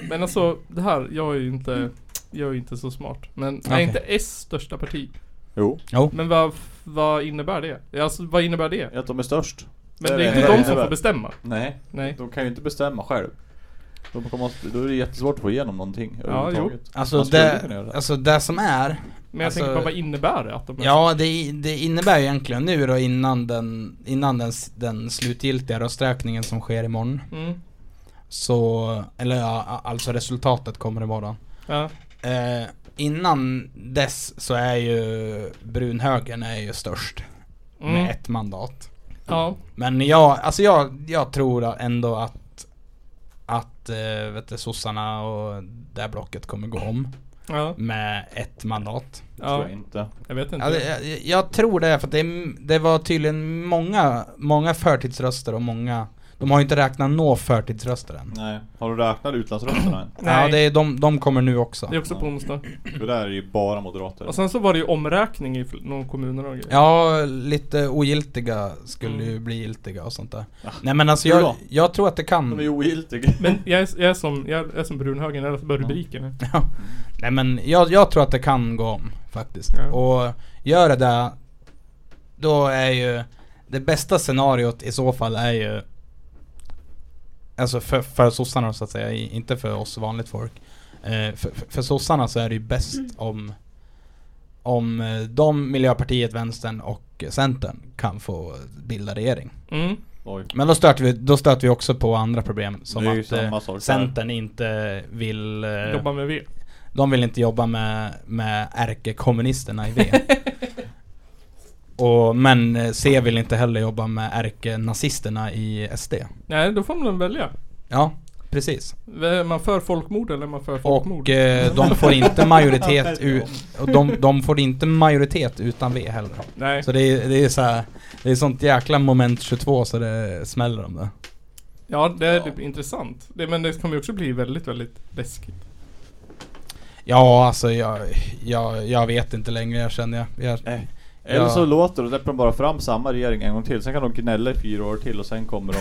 [SPEAKER 1] Men alltså det här, jag är ju inte... Jag är ju inte så smart. Men är
[SPEAKER 2] Okej.
[SPEAKER 1] inte S största parti?
[SPEAKER 3] Jo.
[SPEAKER 2] Jo.
[SPEAKER 1] Men vad, vad innebär det? Alltså vad innebär det?
[SPEAKER 3] Att de är störst.
[SPEAKER 1] Men det
[SPEAKER 3] Nej,
[SPEAKER 1] är inte
[SPEAKER 3] nej,
[SPEAKER 1] de
[SPEAKER 3] nej,
[SPEAKER 1] som
[SPEAKER 3] nej.
[SPEAKER 1] får bestämma.
[SPEAKER 3] Nej,
[SPEAKER 1] Nej.
[SPEAKER 3] de kan ju inte bestämma själv. De kommer, att- då är det jättesvårt att få igenom någonting överhuvudtaget.
[SPEAKER 2] Alltså
[SPEAKER 3] Man skulle kunna
[SPEAKER 2] det,
[SPEAKER 3] göra det.
[SPEAKER 2] alltså det som är
[SPEAKER 1] Men jag
[SPEAKER 2] Alltså-
[SPEAKER 1] tänker på vad innebär det att de är
[SPEAKER 2] Ja, det, i- det innebär ju egentligen nu då innan den, innan den, s- den slutgiltiga rösträkningen som sker imorgon.
[SPEAKER 1] Mm.
[SPEAKER 2] Så, eller ja, a- alltså resultatet kommer imorgon.
[SPEAKER 1] Ja.
[SPEAKER 2] Eh, innan dess så är ju brunhögern är ju störst med
[SPEAKER 1] Mm.
[SPEAKER 2] ett mandat.
[SPEAKER 1] Ja.
[SPEAKER 2] Men jag, alltså jag, jag tror ändå att att eh, vet du, sossarna och det här blocket kommer gå om
[SPEAKER 1] Ja.
[SPEAKER 2] med ett mandat.
[SPEAKER 3] Det tror
[SPEAKER 1] ja.
[SPEAKER 3] jag inte.
[SPEAKER 1] Jag vet inte.
[SPEAKER 2] Ja, det, jag, jag tror det, för att det, är- det var tydligen många, många förtidsröster och många De har ju inte räknat nå förtidsröster än.
[SPEAKER 3] Nej. Har du räknat utlandsrösterna än?
[SPEAKER 1] Nej.
[SPEAKER 2] Ja, det är, de, de kommer nu också.
[SPEAKER 1] Det är också på onsdag.
[SPEAKER 3] Det där är ju bara moderater.
[SPEAKER 1] Och sen så var det ju omräkning i fl- några kommuner och grejer.
[SPEAKER 2] Ja, lite ogiltiga skulle
[SPEAKER 1] Mm. Ah,
[SPEAKER 2] ju bli giltiga och sånt där. Nej men alltså
[SPEAKER 3] Hur
[SPEAKER 2] jag,
[SPEAKER 3] då?
[SPEAKER 2] jag tror att det
[SPEAKER 3] De är
[SPEAKER 2] kan...
[SPEAKER 3] ju ogiltiga.
[SPEAKER 1] mm. Men jag är, jag är som, jag är som brunhögern, jag läser bara rubrikerna.
[SPEAKER 2] Ja. Nej men jag, jag tror att det kan gå om faktiskt.
[SPEAKER 1] Ja.
[SPEAKER 2] Och gör det där, då är ju det bästa scenariot i så fall är ju Alltså för, för sossarna så att säga, i- inte för oss vanligt folk. Eh, för, för, för sossarna så är det ju bäst om om eh, de, Miljöpartiet, Vänstern och Centern kan få bilda regering.
[SPEAKER 1] Mm.
[SPEAKER 3] Oj.
[SPEAKER 2] Men då stöter vi, då stöter vi också på andra problem som
[SPEAKER 3] Det är ju
[SPEAKER 2] att eh,
[SPEAKER 3] samma sak där.
[SPEAKER 2] Centern inte vill... eh,
[SPEAKER 1] Jobba med V.
[SPEAKER 2] de vill inte jobba med, med ärkekommunisterna i V. Och, men eh, C vill inte heller jobba med ärkenazisterna i SD.
[SPEAKER 1] Nej, då får man välja.
[SPEAKER 2] Ja, precis.
[SPEAKER 1] Är man för folkmord eller är man för folkmord?
[SPEAKER 2] Och eh, de får inte majoritet u- och de, de får inte majoritet utan V heller.
[SPEAKER 1] Nej.
[SPEAKER 2] Så det är, det är så här, det är sånt jäkla moment 22 så det smäller om det.
[SPEAKER 1] Ja, det är typ intressant. Det, men det kommer ju också bli väldigt, väldigt läskigt.
[SPEAKER 2] Ja, alltså jag, jag, jag vet inte längre, jag känner jag. jag
[SPEAKER 3] Nej. Eller så
[SPEAKER 2] Ja.
[SPEAKER 3] låter och släpper de bara fram samma regering en gång till. Sen kan de gnälla i fyra år till och sen kommer de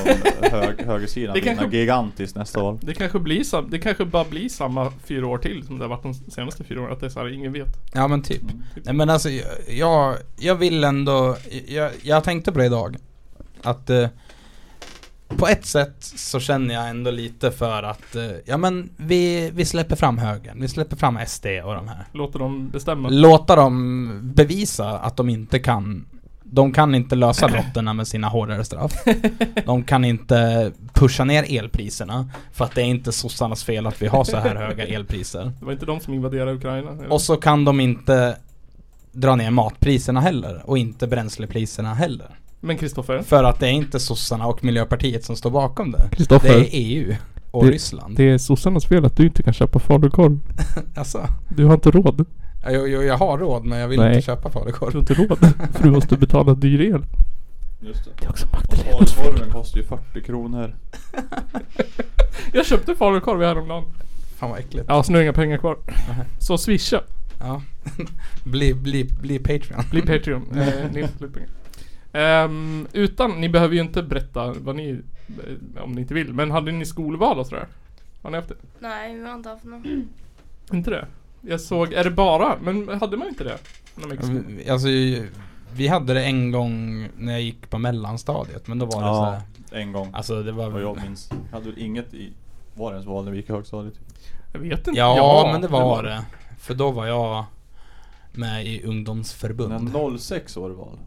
[SPEAKER 3] hög, högersidan
[SPEAKER 1] Det
[SPEAKER 3] vinna
[SPEAKER 1] kanske-
[SPEAKER 3] gigantiskt nästa val.
[SPEAKER 1] Det kanske blir sam, det kanske bara blir samma fyra år till som det har varit de senaste fyra åren. Att det är så här, ingen vet.
[SPEAKER 2] Ja men typ.
[SPEAKER 3] Mm.
[SPEAKER 2] Nej men alltså jag- jag, jag vill ändå, jag, jag tänkte på det idag. Att eh, på ett sätt så känner jag ändå lite för att, eh, ja men vi, vi släpper fram högern, vi släpper fram SD och de här.
[SPEAKER 1] Låter dem bestämma.
[SPEAKER 2] Låta dem bevisa att de inte kan, de kan inte lösa brotten med sina hårdare straff. De kan inte pusha ner elpriserna, för att det är inte sossarnas fel att vi har så här höga elpriser.
[SPEAKER 1] Det var inte de som invaderade Ukraina. eller?
[SPEAKER 2] Och så kan de inte dra ner matpriserna heller och inte bränslepriserna heller.
[SPEAKER 1] Men Kristoffer.
[SPEAKER 2] För att det är inte sossarna och miljöpartiet som står bakom det. Det
[SPEAKER 1] Kristoffer.
[SPEAKER 2] är EU och Ryssland.
[SPEAKER 1] är sossarnas fel att du inte kan köpa falukorv.
[SPEAKER 2] Alltså,
[SPEAKER 1] Du har inte råd.
[SPEAKER 2] jag, jag, jag har råd men jag vill
[SPEAKER 1] Nej.
[SPEAKER 2] inte köpa falukorv.
[SPEAKER 1] inte råd. För du måste betala dyr el.
[SPEAKER 3] Just det.
[SPEAKER 1] Det är också
[SPEAKER 3] Och korven kostar ju 40 kronor.
[SPEAKER 1] Jag köpte falukorv häromdagen.
[SPEAKER 2] Fan vad äckligt.
[SPEAKER 1] Ja, så nu har jag inga pengar kvar. Så swisha.
[SPEAKER 2] Ja. bli, bli, bli Patreon.
[SPEAKER 1] Bli Patreon. Eh, Nils Flipping. Ehm, utan, ni behöver ju inte berätta vad ni, eh, om ni inte vill, men hade ni skolval och sådär? Har ni haft det?
[SPEAKER 6] Nej, vi har inte haft någon.
[SPEAKER 1] Inte det? Jag såg, är det bara, men hade man inte det? När man gick i skolan?
[SPEAKER 2] Alltså, vi hade det en gång när jag gick på mellanstadiet men då var det så här,
[SPEAKER 3] Ja, en gång.
[SPEAKER 2] Alltså det var...
[SPEAKER 3] Vad jag minns. Jag hade väl inget i... Var det ens val när vi gick i högstadiet?
[SPEAKER 1] Jag vet inte.
[SPEAKER 2] Ja, men det var det. För då var jag med i ungdomsförbund.
[SPEAKER 3] När 06 var det val.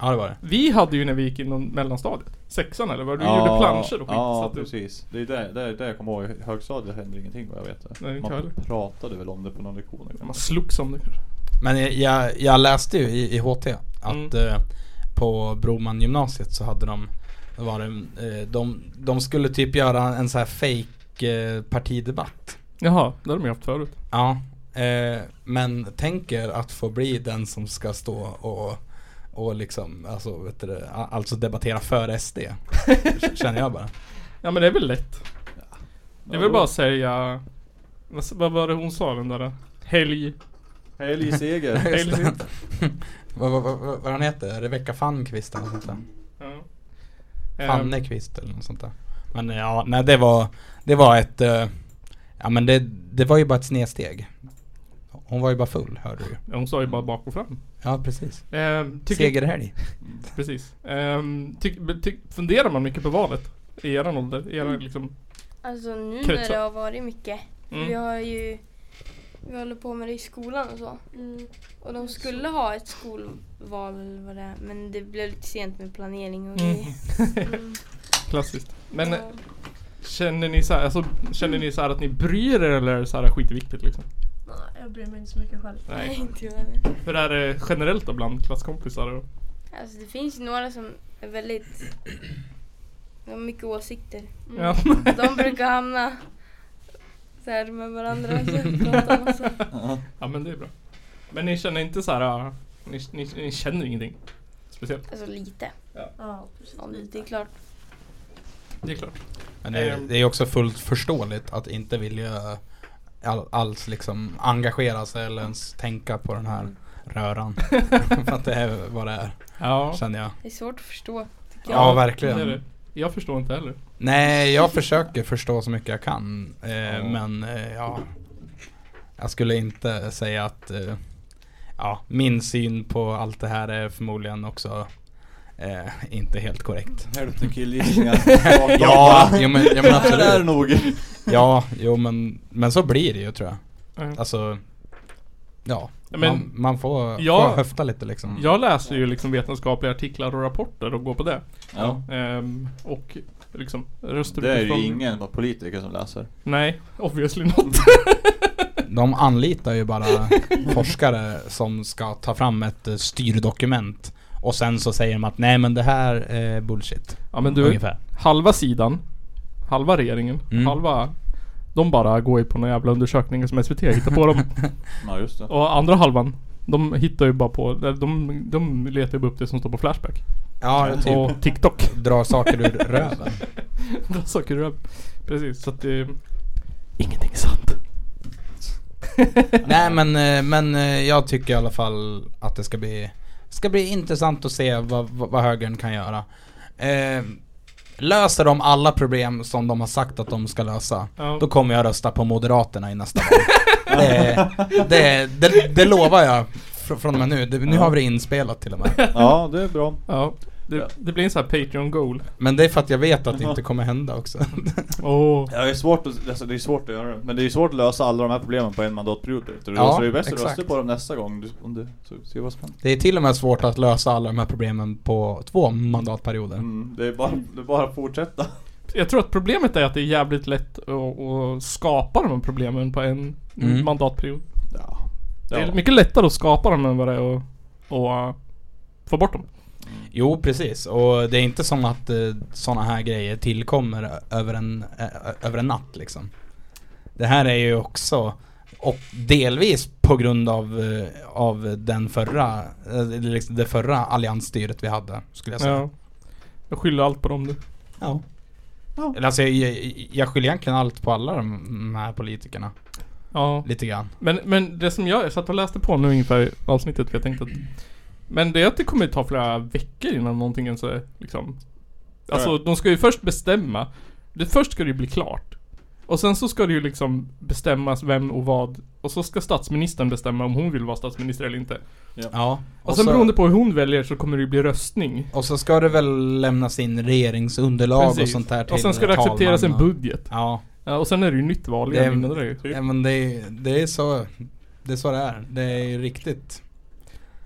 [SPEAKER 2] Ja det var det.
[SPEAKER 1] Vi hade ju när vi gick inom mellanstadiet. Sexan eller vad? Du gjorde planscher och skit. så
[SPEAKER 3] Ja,
[SPEAKER 1] att du-
[SPEAKER 3] precis. Det är det, det, är det jag kommer ihåg. I högstadiet hände ingenting vad jag vet.
[SPEAKER 1] Nej, inte
[SPEAKER 3] Man
[SPEAKER 1] heller. Alltså.
[SPEAKER 3] pratade väl om det på någon lektion.
[SPEAKER 1] Man slogs om det kanske.
[SPEAKER 2] Men jag- jag, jag läste ju i, i HT att
[SPEAKER 1] Mm.
[SPEAKER 2] eh, på Broman gymnasiet så hade de, då var det, eh, de, de skulle typ göra en så här fake eh, partidebatt.
[SPEAKER 1] Jaha, det har de ju haft förut.
[SPEAKER 2] Ja. Eh, men tänker att få bli den som ska stå och, och liksom, alltså, vet du, det, a- alltså debattera för SD. Känner jag bara.
[SPEAKER 1] Ja men det är väl lätt. Det är väl bara att säga... vad s- Vad var det hon sa den där? Helg.
[SPEAKER 3] Helg Seger.
[SPEAKER 2] Just det.
[SPEAKER 1] Helg.
[SPEAKER 2] Vad, vad, vad, vad han heter? Rebecka Fannkvist eller något sånt där.
[SPEAKER 1] Ja. Ehm,
[SPEAKER 2] Fannekvist eller något sånt där. Men eh, ja, nej det var, det var ett, eh, ja men det, det var ju bara ett snedsteg. Hon var ju bara full hörde du ju.
[SPEAKER 1] Hon sa ju bara bak och fram.
[SPEAKER 2] Ja precis.
[SPEAKER 1] Ehm, tycker-
[SPEAKER 2] Segerhelg.
[SPEAKER 1] Precis. Ehm, tyck- be- tyck- funderar man mycket på valet? I eran ålder? I
[SPEAKER 3] Mm.
[SPEAKER 1] eran liksom...
[SPEAKER 6] Alltså nu när
[SPEAKER 1] Kretsar.
[SPEAKER 6] det har varit mycket.
[SPEAKER 1] Mm.
[SPEAKER 6] Vi har ju... Vi håller på med det i skolan och så.
[SPEAKER 7] Mm.
[SPEAKER 6] Och de skulle ha ett skolval eller vad det är. Men det blev lite sent med planering och
[SPEAKER 1] Mm.
[SPEAKER 6] grejer.
[SPEAKER 1] Klassiskt. Men eh,
[SPEAKER 6] Ja.
[SPEAKER 1] känner ni så här, alltså, känner ni så här att ni bryr er eller är det så här skitviktigt liksom?
[SPEAKER 7] Nej, jag bryr mig inte så mycket själv.
[SPEAKER 6] Nej,
[SPEAKER 1] Nej.
[SPEAKER 6] inte jag heller.
[SPEAKER 1] Hur är det generellt då bland klasskompisar? Och,
[SPEAKER 6] Alltså det finns ju några som är väldigt... De har mycket åsikter. Mm.
[SPEAKER 1] ja.
[SPEAKER 6] De brukar hamna så här med varandra och så pratar de massa.
[SPEAKER 1] ja men det är bra. Men ni känner inte så här, ah, ni, ni, ni känner ingenting? Speciellt?
[SPEAKER 6] Alltså lite.
[SPEAKER 7] Ja, precis.
[SPEAKER 6] Ja, det är klart.
[SPEAKER 1] Det är klart.
[SPEAKER 2] Men det, är- det är också fullt förståeligt att inte vilja all, alls liksom engagera sig eller ens tänka på den här röran. För att det är vad det är
[SPEAKER 1] Ja.
[SPEAKER 2] känner jag.
[SPEAKER 6] Det är svårt att förstå. tycker jag.
[SPEAKER 2] Ja
[SPEAKER 1] Det är
[SPEAKER 2] verkligen.
[SPEAKER 1] det. Jag förstår inte heller.
[SPEAKER 2] Nej jag försöker förstå så mycket jag kan. Eh, Men eh, ja. Jag skulle inte säga att eh, ja, min syn på allt det här är förmodligen också eh, inte helt korrekt.
[SPEAKER 3] Hälften killgissningar.
[SPEAKER 2] Ja, ja, men, ja men
[SPEAKER 3] det är det
[SPEAKER 2] absolut.
[SPEAKER 3] nog.
[SPEAKER 2] Ja, jo men, men så blir det ju tror jag.
[SPEAKER 1] Ja.
[SPEAKER 2] Alltså Ja,
[SPEAKER 1] Ja, men-
[SPEAKER 2] man, man får,
[SPEAKER 1] Ja.
[SPEAKER 2] får höfta lite liksom
[SPEAKER 1] Jag läser ju liksom vetenskapliga artiklar och rapporter och går på det.
[SPEAKER 3] Ja.
[SPEAKER 1] Ehm, och liksom röster
[SPEAKER 3] Det är ju
[SPEAKER 1] utifrån-
[SPEAKER 3] ingen politiker som läser.
[SPEAKER 1] Nej, obviously not.
[SPEAKER 2] De anlitar ju bara forskare som ska ta fram ett eh, styrdokument Och sen så säger de att nej men det här är bullshit
[SPEAKER 1] Ja men du,
[SPEAKER 2] Ungefär
[SPEAKER 1] halva sidan, halva regeringen,
[SPEAKER 2] Mm.
[SPEAKER 1] halva de bara går ju på några jävla undersökningar som SVT hittar på dem.
[SPEAKER 3] Ja just det.
[SPEAKER 1] Och andra halvan, de hittar ju bara på, de, de letar ju bara upp det som står på Flashback.
[SPEAKER 2] Ja, typ
[SPEAKER 1] Och TikTok.
[SPEAKER 2] drar saker ur röven
[SPEAKER 1] Dra saker ur Precis, så att det... Ingenting är sant.
[SPEAKER 2] Nej men, eh, men eh, jag tycker i alla fall att det ska bli Ska bli intressant att se vad, vad, vad högern kan göra eh, Löser de alla problem som de har sagt att de ska lösa
[SPEAKER 1] Ja.
[SPEAKER 2] Då kommer jag rösta på Moderaterna i nästa val det, det, det, det lovar jag fr- från och med nu, det, nu har vi det inspelat till och med
[SPEAKER 3] Ja det är bra.
[SPEAKER 1] Ja. Det, det blir en sån här Patreon goal.
[SPEAKER 2] Men det är för att jag vet att det inte kommer hända också
[SPEAKER 1] Åh.
[SPEAKER 3] Ja, det, är svårt att, alltså, det är svårt att göra det. Men det är ju svårt att lösa alla de här problemen på en mandatperiod. Peter.
[SPEAKER 2] Ja,
[SPEAKER 3] så det är bäst att rösta
[SPEAKER 2] exakt.
[SPEAKER 3] på dem nästa gång. Du, om du så, ser vad som händer.
[SPEAKER 2] Det är till och med svårt att lösa alla de här problemen på två mandatperioder
[SPEAKER 3] Mm, det, är bara, det är bara att fortsätta.
[SPEAKER 1] Jag tror att problemet är att det är jävligt lätt att, att skapa de här problemen på en
[SPEAKER 2] Mm.
[SPEAKER 1] mandatperiod.
[SPEAKER 3] Ja.
[SPEAKER 1] Det är mycket lättare att skapa dem än vad det är att, att äh, få bort dem.
[SPEAKER 2] Jo precis och det är inte som att eh, sådana här grejer tillkommer ö- över en, ö- ö- över en natt liksom. Det här är ju också och delvis på grund av, eh, av den förra, eh, liksom det förra alliansstyret vi hade skulle jag säga.
[SPEAKER 1] Ja. Jag skyller allt på dem nu.
[SPEAKER 2] Ja. Eller Alltså, jag, jag skyller egentligen allt på alla de de här politikerna.
[SPEAKER 1] Ja.
[SPEAKER 2] Lite grann.
[SPEAKER 1] Men, men det som jag, jag satt och läste på nu inför avsnittet för jag tänkte att Men det är att det kommer ta flera veckor innan någonting ens är liksom Alltså
[SPEAKER 3] Ja.
[SPEAKER 1] de ska ju först bestämma det, Först ska det ju bli klart Och sen så ska det ju liksom bestämmas vem och vad Och så ska statsministern bestämma om hon vill vara statsminister eller inte
[SPEAKER 2] Ja.
[SPEAKER 1] Och, sen beroende på hur hon väljer så kommer det ju bli röstning
[SPEAKER 2] och så ska det väl lämnas in regeringsunderlag och
[SPEAKER 1] Precis.
[SPEAKER 2] sånt där till
[SPEAKER 1] Och sen ska det accepteras en
[SPEAKER 2] talmannen.
[SPEAKER 1] budget
[SPEAKER 2] Ja.
[SPEAKER 1] ja, Och sen är det ju nytt val
[SPEAKER 2] Det är-
[SPEAKER 1] igen innan det är ju
[SPEAKER 2] Ja men det är, det är så Det är så det är. Det är ju riktigt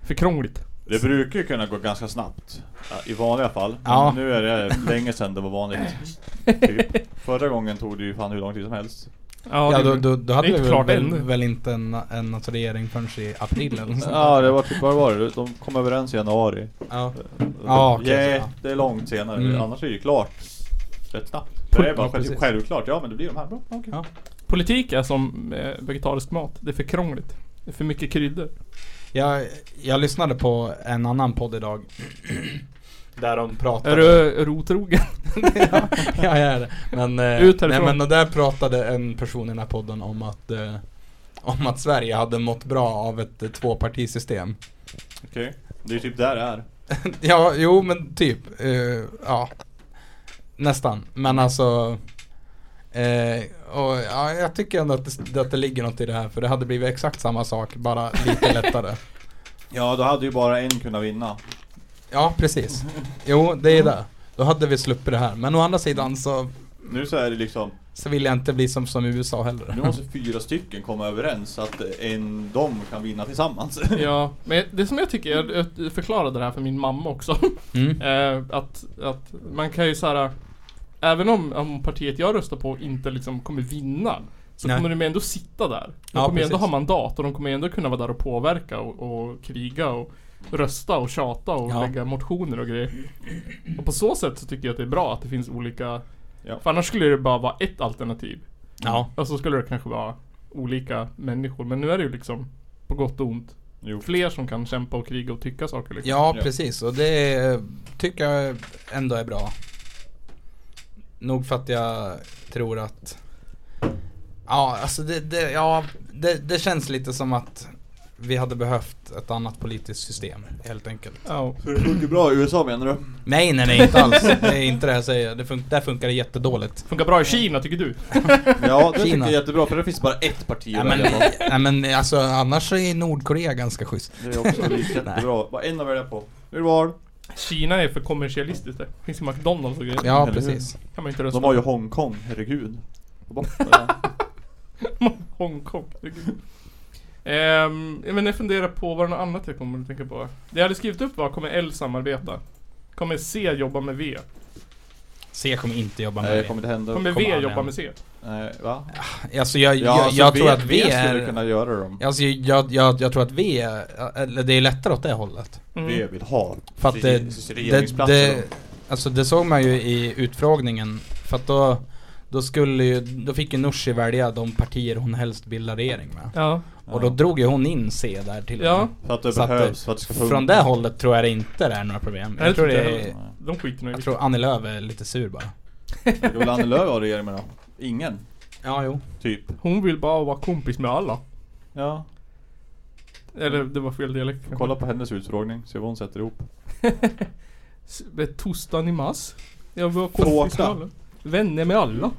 [SPEAKER 1] för krångligt
[SPEAKER 3] Det brukar ju kunna gå ganska snabbt. ja, I vanliga fall.
[SPEAKER 2] Ja.
[SPEAKER 3] Men Nu är det länge sedan det var vanligt. Typ. Förra gången tog det ju fan hur lång tid som helst.
[SPEAKER 1] Ja,
[SPEAKER 2] Ja
[SPEAKER 1] det-
[SPEAKER 2] då, då, då hade
[SPEAKER 1] det är
[SPEAKER 2] vi
[SPEAKER 1] inte klart
[SPEAKER 2] väl,
[SPEAKER 1] ännu.
[SPEAKER 2] väl inte en, en notering förrän i april eller nåt sånt.
[SPEAKER 3] Ja det var typ, vad var det? De kom överens i januari.
[SPEAKER 2] ja. Ja,
[SPEAKER 3] Ja,
[SPEAKER 2] okej, ja.
[SPEAKER 3] det är långt senare.
[SPEAKER 2] Mm.
[SPEAKER 3] Annars är det ju klart rätt snabbt. Så det är bara
[SPEAKER 2] Ja, precis.
[SPEAKER 3] själv, självklart. Ja, men det blir de här. Bra, okej.
[SPEAKER 2] Ja.
[SPEAKER 1] Politik är som eh, vegetarisk mat Det är för krångligt Det är för mycket kryddor
[SPEAKER 2] jag, jag lyssnade på en annan podd idag Där de pratade
[SPEAKER 1] Är du, är du otrogen?
[SPEAKER 2] ja, jag är det. Men, eh,
[SPEAKER 1] Ut härifrån.
[SPEAKER 2] nej, men och där pratade en person i den här podden om att eh, Om att Sverige hade mått bra av ett eh, tvåpartisystem
[SPEAKER 3] Okej. Det är ju typ där det är.
[SPEAKER 2] Ja, jo men typ. eh, ja. Nästan. Men alltså. Eh, och ja, jag tycker ändå att det, att det ligger något i det här för det hade blivit exakt samma sak bara lite lättare.
[SPEAKER 3] Ja, då hade ju bara en kunnat vinna.
[SPEAKER 2] Ja, precis. Jo, det är det. Då hade vi sluppit det här. Men å andra sidan så,
[SPEAKER 3] Nu så är det liksom,
[SPEAKER 2] så vill jag inte bli som, som i USA heller.
[SPEAKER 3] nu måste fyra stycken komma överens så att en, de kan vinna tillsammans.
[SPEAKER 1] Ja, men det som jag tycker, jag jag förklarade det här för min mamma också.
[SPEAKER 2] Mm.
[SPEAKER 1] Eh, att, att man kan ju så här. Även om, om partiet jag röstar på inte liksom kommer vinna Så
[SPEAKER 2] Nej.
[SPEAKER 1] kommer de ändå sitta där De
[SPEAKER 2] Ja,
[SPEAKER 1] kommer ju ändå
[SPEAKER 2] precis.
[SPEAKER 1] ha mandat och de kommer ju ändå kunna vara där och påverka och, och kriga och Rösta och tjata och
[SPEAKER 2] Ja.
[SPEAKER 1] lägga motioner och grejer Och på så sätt så tycker jag att det är bra att det finns olika
[SPEAKER 3] Ja.
[SPEAKER 1] För annars skulle det bara vara ett alternativ
[SPEAKER 2] Ja,
[SPEAKER 1] Och så skulle det kanske vara olika människor Men nu är det ju liksom På gott och ont
[SPEAKER 3] Jo.
[SPEAKER 1] Fler som kan kämpa och kriga och tycka saker liksom.
[SPEAKER 2] ja,
[SPEAKER 3] Ja.
[SPEAKER 2] precis. Och det tycker jag ändå är bra. Nog för att jag tror att... Ja, alltså det, det, ja, det, det känns lite som att vi hade behövt ett annat politiskt system helt enkelt.
[SPEAKER 1] Ja.
[SPEAKER 3] Så det funkar bra i USA menar du?
[SPEAKER 2] Nej, nej, nej, inte alls. Det är inte det jag säger. Det fun- där funkar det jättedåligt.
[SPEAKER 1] Funkar bra i Kina tycker du?
[SPEAKER 3] Ja, det tycker
[SPEAKER 2] Kina.
[SPEAKER 3] jag är jättebra för det finns bara ett parti
[SPEAKER 2] Ja,
[SPEAKER 3] att
[SPEAKER 2] men,
[SPEAKER 3] välja på.
[SPEAKER 2] ja, men alltså annars är Nordkorea ganska schysst.
[SPEAKER 3] Det är också jättebra. Bara en att välja på. Nu är det val.
[SPEAKER 1] Kina är för kommersialistiskt det. Finns ju McDonalds och grejer.
[SPEAKER 2] Ja,
[SPEAKER 3] Eller
[SPEAKER 2] precis.
[SPEAKER 1] Kan man inte rösta
[SPEAKER 3] De har ju Hongkong, herregud. Bort med det.
[SPEAKER 1] på. Hongkong. Ehm, ja, men jag funderar på vad det är något annat jag kommer att tänka på. Det jag hade skrivit upp var, kommer L samarbeta? Kommer C jobba med V?
[SPEAKER 2] C kommer inte jobba med
[SPEAKER 3] Nej, det
[SPEAKER 2] det.
[SPEAKER 3] kommer inte hända.
[SPEAKER 1] Kommer
[SPEAKER 2] kommer
[SPEAKER 1] V
[SPEAKER 2] aldrig
[SPEAKER 1] jobba
[SPEAKER 2] hända.
[SPEAKER 1] med C?
[SPEAKER 3] Nej, va?
[SPEAKER 2] Alltså jag, jag,
[SPEAKER 3] alltså,
[SPEAKER 2] jag
[SPEAKER 3] V-
[SPEAKER 2] tror att
[SPEAKER 3] V
[SPEAKER 2] V
[SPEAKER 3] skulle
[SPEAKER 2] är...
[SPEAKER 3] kunna göra dem.
[SPEAKER 2] Alltså jag, jag, jag tror att V är, eller det är lättare åt det hållet.
[SPEAKER 1] Mm.
[SPEAKER 3] V vill ha.
[SPEAKER 2] För att det, det,
[SPEAKER 3] regeringsplatser
[SPEAKER 2] det,
[SPEAKER 3] då.
[SPEAKER 2] alltså det såg man ju i utfrågningen. För att då, då skulle ju, då fick ju Nooshi välja de partier hon helst bildar regering med.
[SPEAKER 1] Ja.
[SPEAKER 2] Och då drog ju hon in C där till och
[SPEAKER 1] Ja.
[SPEAKER 2] med.
[SPEAKER 3] För att det
[SPEAKER 2] Så att det-
[SPEAKER 3] behövs, för att det ska funka.
[SPEAKER 2] Från det hållet tror jag det inte det är några problem.
[SPEAKER 1] Nej,
[SPEAKER 2] Jag tror
[SPEAKER 1] inte
[SPEAKER 2] det
[SPEAKER 1] heller.
[SPEAKER 2] är,
[SPEAKER 1] De skiter nog i
[SPEAKER 2] jag
[SPEAKER 1] det.
[SPEAKER 2] tror Annie Lööf är lite sur bara.
[SPEAKER 3] Ska väl Annie Lööf ha regeringen då? Ingen,
[SPEAKER 2] Ja, jo.
[SPEAKER 3] typ.
[SPEAKER 1] Hon vill bara vara kompis med alla.
[SPEAKER 3] Ja.
[SPEAKER 1] Eller det var fel dialekt kanske.
[SPEAKER 3] Kolla på hennes utfrågning, se vad hon sätter ihop.
[SPEAKER 1] S- med Tostan i mass. Jag vill vara kompis med
[SPEAKER 3] Tårta.
[SPEAKER 1] alla. Vänner med alla.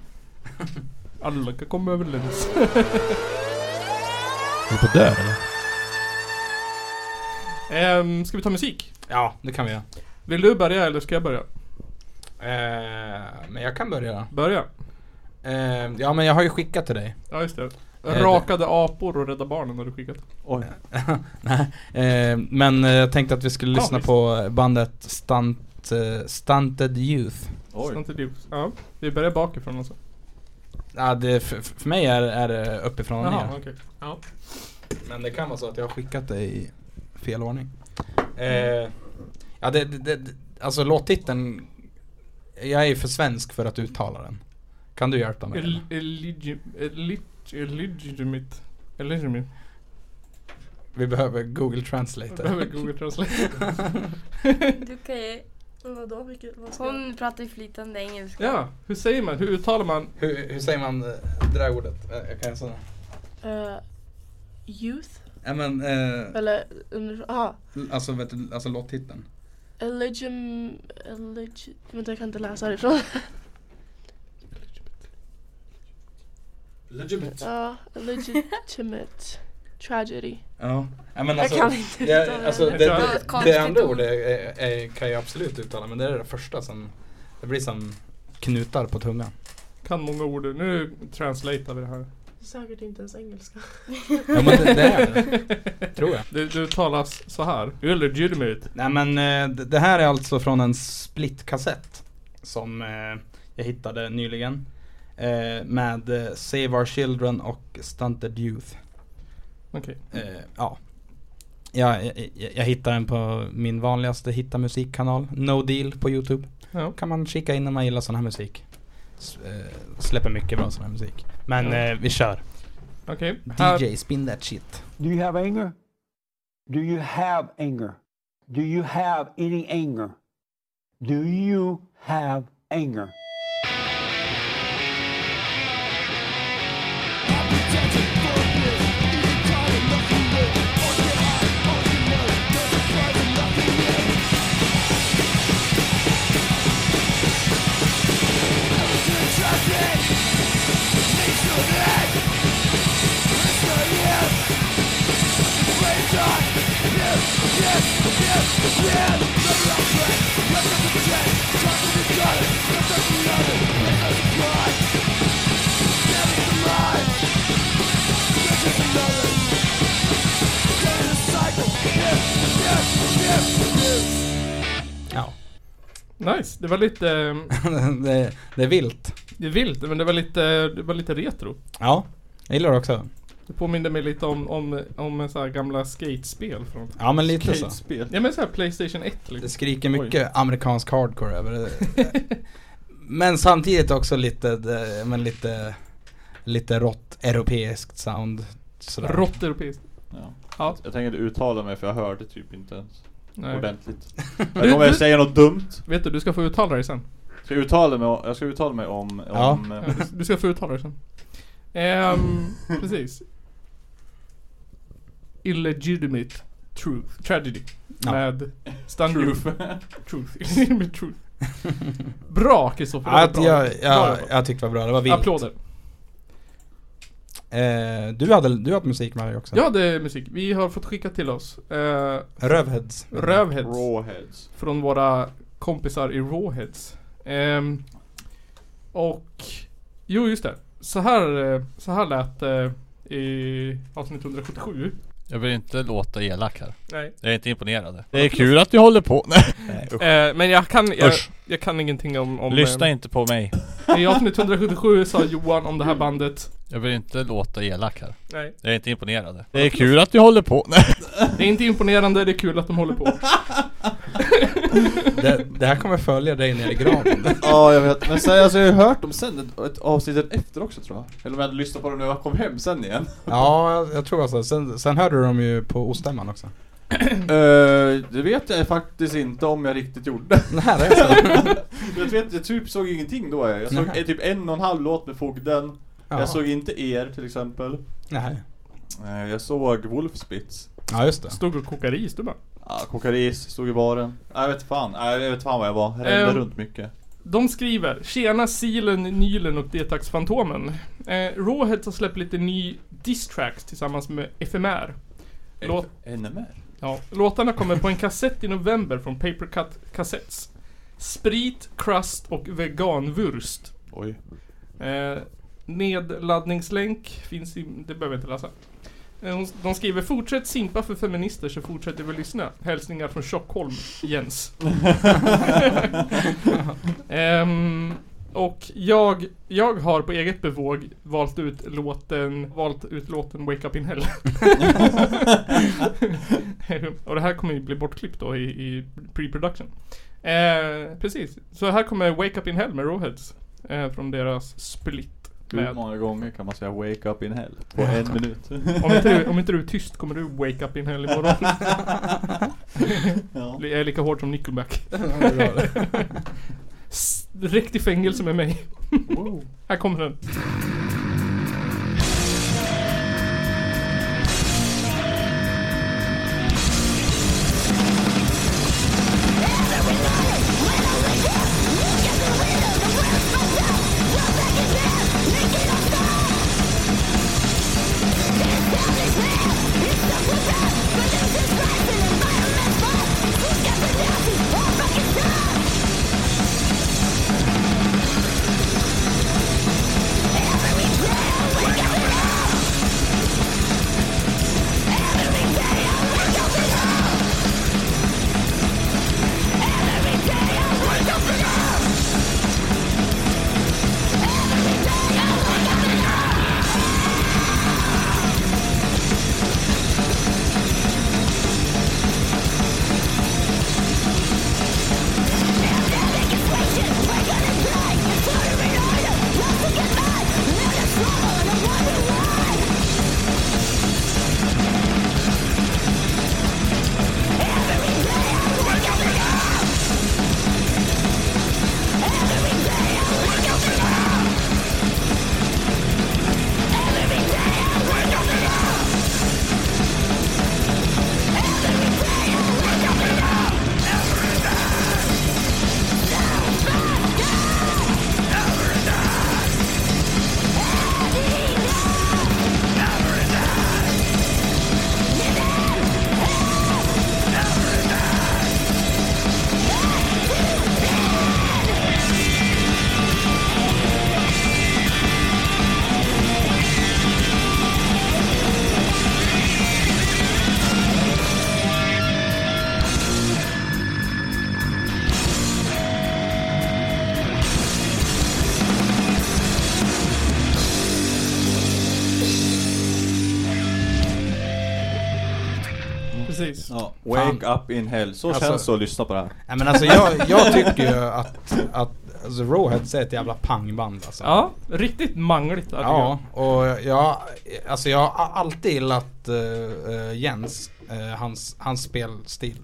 [SPEAKER 1] Alla kan komma överens.
[SPEAKER 2] Är du på dörr eller?
[SPEAKER 1] Ehm, ska vi ta musik?
[SPEAKER 2] Ja, det kan vi göra.
[SPEAKER 1] Vill du börja eller ska jag börja?
[SPEAKER 2] Eh, men jag kan börja då.
[SPEAKER 1] Börja.
[SPEAKER 2] Eh, ja men jag har ju skickat till dig.
[SPEAKER 1] Ja just det.
[SPEAKER 2] det-
[SPEAKER 1] Rakade apor och Rädda Barnen har du skickat.
[SPEAKER 3] Oj.
[SPEAKER 2] Eh, men eh, jag tänkte att vi skulle
[SPEAKER 1] Ja,
[SPEAKER 2] lyssna
[SPEAKER 1] visst.
[SPEAKER 2] på bandet Stunt, eh, Stunted Youth.
[SPEAKER 3] Oj.
[SPEAKER 1] Sånt är det. Ja. Vi börjar bakifrån alltså.
[SPEAKER 2] Ja, det, för, för mig är, är det uppifrån och
[SPEAKER 1] Jaha,
[SPEAKER 2] ner.
[SPEAKER 1] okej. Ja.
[SPEAKER 2] Men det kan vara så att jag har skickat det i fel ordning.
[SPEAKER 1] Mm.
[SPEAKER 2] Eh, ja det, det, det, det- alltså låttiteln, jag är ju för svensk för att uttala den. Kan du hjälpa mig?
[SPEAKER 1] El- eligi- eligi- Illegitimate. Illegitimate.
[SPEAKER 2] Vi behöver Google
[SPEAKER 1] Jag
[SPEAKER 2] Translate.
[SPEAKER 1] behöver Google Translate.
[SPEAKER 6] Du kan ju,
[SPEAKER 7] Vadå? Vilket, vad ska jag?
[SPEAKER 6] hon pratar ju flytande engelska.
[SPEAKER 1] Ja, hur säger man? Hur uttalar man?
[SPEAKER 2] Hur, hur säger man eh, det där ordet? Eh, Jag kan säga
[SPEAKER 7] Eh, youth?
[SPEAKER 2] Ja men, eh,
[SPEAKER 7] Eller under... ah, Aha.
[SPEAKER 2] alltså, vet du, alltså låttiteln.
[SPEAKER 7] Elegim... Eleg... Vänta jag kan inte läsa härifrån. Ja, legitimate tragedy.
[SPEAKER 2] Ja. ja men
[SPEAKER 7] Jag
[SPEAKER 2] alltså,
[SPEAKER 7] kan inte
[SPEAKER 2] det,
[SPEAKER 7] uttala
[SPEAKER 2] alltså,
[SPEAKER 1] det.
[SPEAKER 2] det,
[SPEAKER 1] Jag tror
[SPEAKER 2] det,
[SPEAKER 6] det var ett
[SPEAKER 2] det
[SPEAKER 6] konstigt
[SPEAKER 2] andra
[SPEAKER 6] ord.
[SPEAKER 2] ordet är, är, kan jag absolut uttala men det är det första som, det blir som knutar på tungan.
[SPEAKER 1] Kan många ord. Nu translatear vi det här.
[SPEAKER 7] Säkert inte ens engelska.
[SPEAKER 2] Ja men det, det är det, tror jag.
[SPEAKER 1] Det, det uttalas så här. Illegitimate.
[SPEAKER 2] Nej men eh, det- det här är alltså från en split-kassett som eh, jag hittade nyligen. Eh, med eh, Save Our Children och Stunted Youth.
[SPEAKER 1] Okej.
[SPEAKER 2] Eh, ja. Jag, jag, jag- jag hittar den på min vanligaste hitta musikkanal, No Deal på Youtube.
[SPEAKER 1] Ja.
[SPEAKER 2] kan man kika in när man gillar sån här musik. S- eh, släpper mycket bra sån här musik. Men eh, vi kör.
[SPEAKER 1] Okej. Här-
[SPEAKER 2] DJ, spin that shit.
[SPEAKER 8] Do you have anger? Do you have anger? Do you have any anger? Do you have anger?
[SPEAKER 1] Nice, det var lite, eh,
[SPEAKER 2] det, det är vilt.
[SPEAKER 1] det är vilt men det var lite, det var lite retro.
[SPEAKER 2] Ja, jag gillar det också.
[SPEAKER 1] Det påminner mig lite om, om, om så här gamla skatespel från
[SPEAKER 2] Ja men lite så.
[SPEAKER 3] Skatespel.
[SPEAKER 1] Ja men såhär Playstation 1 liksom.
[SPEAKER 2] Det skriker mycket amerikansk hardcore över det. men samtidigt också lite, det- men lite, lite rått europeiskt sound. Sådär.
[SPEAKER 1] Rått europeiskt.
[SPEAKER 3] Ja.
[SPEAKER 1] Ja.
[SPEAKER 3] Jag tänker inte uttala mig för jag hörde typ inte ens
[SPEAKER 1] Nej.
[SPEAKER 3] ordentligt. Jag kommer
[SPEAKER 1] du-
[SPEAKER 3] säga något dumt.
[SPEAKER 1] Vet du, du ska få uttala dig sen.
[SPEAKER 3] Ska jag uttala mig, om- jag ska uttala mig om... om
[SPEAKER 2] Ja.
[SPEAKER 1] Ja,
[SPEAKER 3] eh,
[SPEAKER 1] du- Du ska få uttala dig sen. Ehm, precis. Illegitimate truth. Tragedy.
[SPEAKER 2] Ja.
[SPEAKER 1] Med Stanley
[SPEAKER 3] Truth.
[SPEAKER 1] truth. Illegitimate truth. Bra Kristoffer.
[SPEAKER 2] Ja, jag, jag, jag,
[SPEAKER 1] jobbat.
[SPEAKER 2] jag tyckte det var bra, det var vilt.
[SPEAKER 1] Applåder.
[SPEAKER 2] Eh, du, hade, du hade musik med dig också?
[SPEAKER 1] Ja det är musik. Vi har fått skicka till oss eh,
[SPEAKER 2] Rövheads.
[SPEAKER 1] Rövheads.
[SPEAKER 3] Rawheads.
[SPEAKER 1] från våra kompisar i Rawheads. Ehm, och, jo just det. Så här, eh, så här lät det eh, i avsnitt 177.
[SPEAKER 10] Jag vill inte låta elak här.
[SPEAKER 1] Nej.
[SPEAKER 10] Jag är inte imponerad. Det är kul att ni håller på. Nej, usch.
[SPEAKER 1] Eh, men jag kan, jag,
[SPEAKER 10] Usch.
[SPEAKER 1] jag kan ingenting om... om
[SPEAKER 10] Lyssna
[SPEAKER 1] eh,
[SPEAKER 10] inte på mig.
[SPEAKER 1] I avsnitt 177 sa Johan om det här bandet.
[SPEAKER 10] Jag vill inte låta elak här.
[SPEAKER 1] Nej.
[SPEAKER 10] Jag är inte imponerad. Det är kul att ni håller på. Nej.
[SPEAKER 1] Det är inte imponerande, det är kul att de håller på.
[SPEAKER 2] Det, det här kommer följa dig ner i graven.
[SPEAKER 3] Ja jag vet, men sen, alltså, jag har hört dem sen, ett, ett avsnittet efter också tror jag. Eller om jag hade lyssnat på dem när jag kom hem sen igen.
[SPEAKER 2] ja, jag- jag tror alltså. Sen, sen hörde du dem ju på Ostämman också.
[SPEAKER 3] Eh, det vet jag faktiskt inte om jag riktigt gjorde.
[SPEAKER 2] Nej, det är så.
[SPEAKER 3] jag vet, jag typ såg ingenting då. Jag, jag såg
[SPEAKER 2] Nej.
[SPEAKER 3] eh, typ en och en halv låt med Fogden.
[SPEAKER 2] Ja.
[SPEAKER 3] Jag såg inte er till exempel.
[SPEAKER 2] Nej.
[SPEAKER 3] Eh, jag såg Wolfspitz.
[SPEAKER 2] Ja, just det.
[SPEAKER 1] Stod och kokade is du bara.
[SPEAKER 3] Ja, kokade is, stod i baren. Nej, jag vet fan, Nej, jag vet fan vad jag var. Rände
[SPEAKER 1] Ehm.
[SPEAKER 3] runt mycket.
[SPEAKER 1] De skriver Tjena Silen, Nylen och Detax-Fantomen. Eh, Rawheads har släppt lite ny diss-tracks tillsammans med FMR. Låt,
[SPEAKER 3] NMR?
[SPEAKER 1] ja, låtarna kommer på en kassett i november från Paper Cut Cassettes. Sprit, Crust och Veganvurst.
[SPEAKER 3] Oj.
[SPEAKER 1] Eh, nedladdningslänk finns i... Det behöver jag inte läsa. Eh, hon- De skriver Fortsätt simpa för feminister så fortsätter vi lyssna. Hälsningar från Tjockholm, Jens. Ehm, och jag, jag har på eget bevåg valt ut låten, valt ut låten Wake Up In Hell. och det här kommer ju bli bortklippt då i, i pre-production. Eh, precis, så här kommer Wake Up In Hell med Rawheads. Eh, från deras split.
[SPEAKER 3] Hur
[SPEAKER 1] Med,
[SPEAKER 3] många gånger kan man säga wake up in hell? På en minut.
[SPEAKER 1] om, inte du, om inte du är tyst kommer du Wake Up In Hell imorgon.
[SPEAKER 3] ja.
[SPEAKER 1] Jag är lika hård som Nickelback. S- Direkt i fängelse med mig. Här kommer den.
[SPEAKER 8] It's
[SPEAKER 1] precis.
[SPEAKER 3] Ja. Wake up in hell. Så
[SPEAKER 2] Alltså-
[SPEAKER 3] känns det att lyssna på det här.
[SPEAKER 2] Nej men alltså jag, jag tycker ju att, att alltså, Rawheads är ett jävla pangband alltså.
[SPEAKER 1] Ja, riktigt mangligt där
[SPEAKER 2] Ja, och jag, alltså jag har alltid gillat eh, eh, Jens, eh, hans, hans spelstil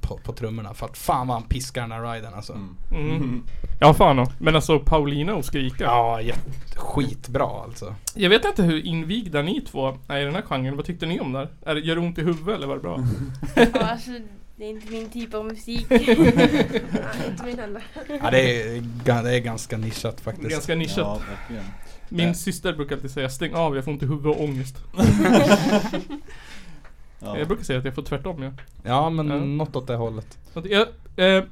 [SPEAKER 2] på, på trummorna. För att fan vad han piskar den här riden alltså.
[SPEAKER 1] Mm. Ja fan då. Men alltså Paulino skrika.
[SPEAKER 2] Ja, jätte- skitbra alltså.
[SPEAKER 1] Jag vet inte hur invigda ni två är i den här genren. Vad tyckte ni om det här? Är det, gör det ont i huvudet eller var det bra?
[SPEAKER 6] Ja, alltså, det är inte min typ av musik.
[SPEAKER 7] Nej, inte min heller.
[SPEAKER 2] Ja, det är, ga- det är ganska nischat faktiskt.
[SPEAKER 1] Ganska nischat.
[SPEAKER 3] Ja, verkligen.
[SPEAKER 1] Min syster brukar alltid säga stäng av, jag får inte huvud och ångest.
[SPEAKER 3] Ja.
[SPEAKER 1] Jag brukar säga att jag får tvärtom ja.
[SPEAKER 2] Ja, men
[SPEAKER 1] Ja.
[SPEAKER 2] något åt det hållet.
[SPEAKER 1] Så att Jag, eh,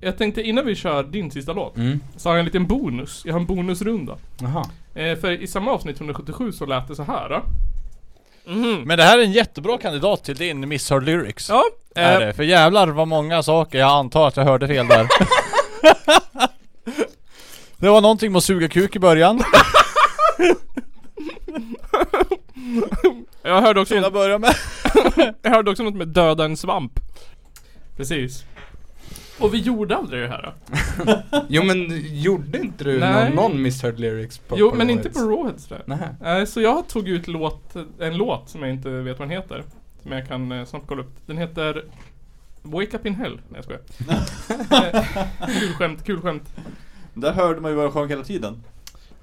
[SPEAKER 1] jag tänkte innan vi kör din sista låt
[SPEAKER 2] Mm.
[SPEAKER 1] Så har jag en liten bonus, jag har en bonusrunda
[SPEAKER 2] Jaha.
[SPEAKER 1] eh, För i samma avsnitt 177 så lät det så här då. Mhm.
[SPEAKER 10] Men det här är en jättebra kandidat till din Miss Her Lyrics.
[SPEAKER 1] Ja,
[SPEAKER 10] Är
[SPEAKER 1] eh,
[SPEAKER 10] det? För jävlar vad många saker jag antar att jag hörde fel där. det var någonting med att suga kuk i början.
[SPEAKER 1] jag, hörde också något,
[SPEAKER 10] börja med.
[SPEAKER 1] jag hörde också något med döda en svamp Precis Och vi gjorde aldrig det här då.
[SPEAKER 2] Jo men gjorde inte du
[SPEAKER 1] Nej.
[SPEAKER 2] någon, någon misheard lyrics på
[SPEAKER 1] Jo
[SPEAKER 2] på
[SPEAKER 1] men inte på
[SPEAKER 2] Rawheads?
[SPEAKER 1] Rawheads det.
[SPEAKER 2] Nej.
[SPEAKER 1] Eh, Så jag tog ut låt, en låt som jag inte vet vad den heter. Som jag kan eh, snabbt kolla upp. Den heter Wake Up In Hell. Nej jag skojar. Eh, kul skämt, kul skämt.
[SPEAKER 3] Där hörde man ju vad jag sjöng hela tiden.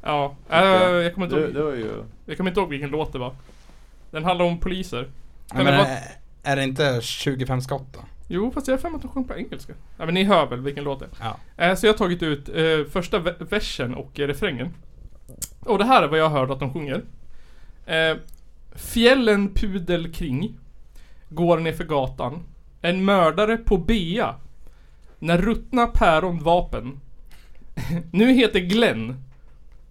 [SPEAKER 1] Ja, eh, jag, kommer inte
[SPEAKER 3] det, det
[SPEAKER 1] ihåg,
[SPEAKER 3] var ju...
[SPEAKER 1] jag kommer inte ihåg vilken låt det var. Den handlar om poliser.
[SPEAKER 2] Nej,
[SPEAKER 1] Eller
[SPEAKER 2] men
[SPEAKER 1] vad-
[SPEAKER 2] är, är det inte 25 skott då?
[SPEAKER 1] Jo fast jag har för mig att de sjöng på engelska. Ja men ni hör väl vilken låt det
[SPEAKER 2] Ja.
[SPEAKER 1] är. Eh, Så jag har tagit ut eh, första ve- versen och eh, refrängen. Och det här är vad jag hörde att de sjunger. Eh, Fjällen pudel kring Går ner för gatan En mördare på bea När ruttna päron vapen Nu heter Glenn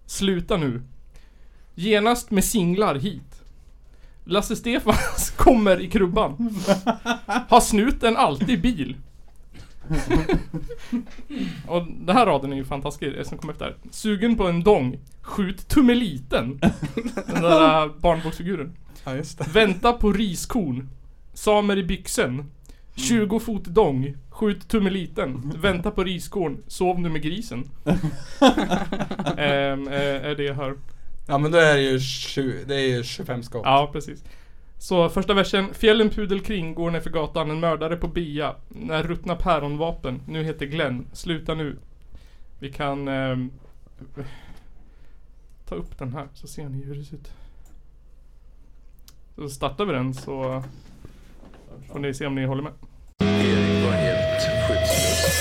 [SPEAKER 1] Sluta nu Genast med singlar hit Lasse Stefans kommer i krubban Har snuten alltid bil Och den här raden är ju fantastisk eh, som kommer efter Sugen på en dong Skjut tummeliten Den där eh, barnboksfiguren
[SPEAKER 2] Ja just det.
[SPEAKER 1] Vänta på riskorn. Samer i byxen. 20 fot dong. Skjut tummeliten. Vänta på riskorn. Sov nu med grisen. Ehm, eh, är det jag hör.
[SPEAKER 2] Ja men då är det ju, 20, det är ju 25 skott.
[SPEAKER 1] Ja, precis. Så första versen. Fjällen pudel kring går nerför gatan. En mördare på bia. När ruttna päronvapen. Nu heter Glenn. Sluta nu. Vi kan ehm, ta upp den här så ser ni hur det ser ut. Så startar vi den så får ni se om ni håller med.
[SPEAKER 4] Erik var helt skyddslös.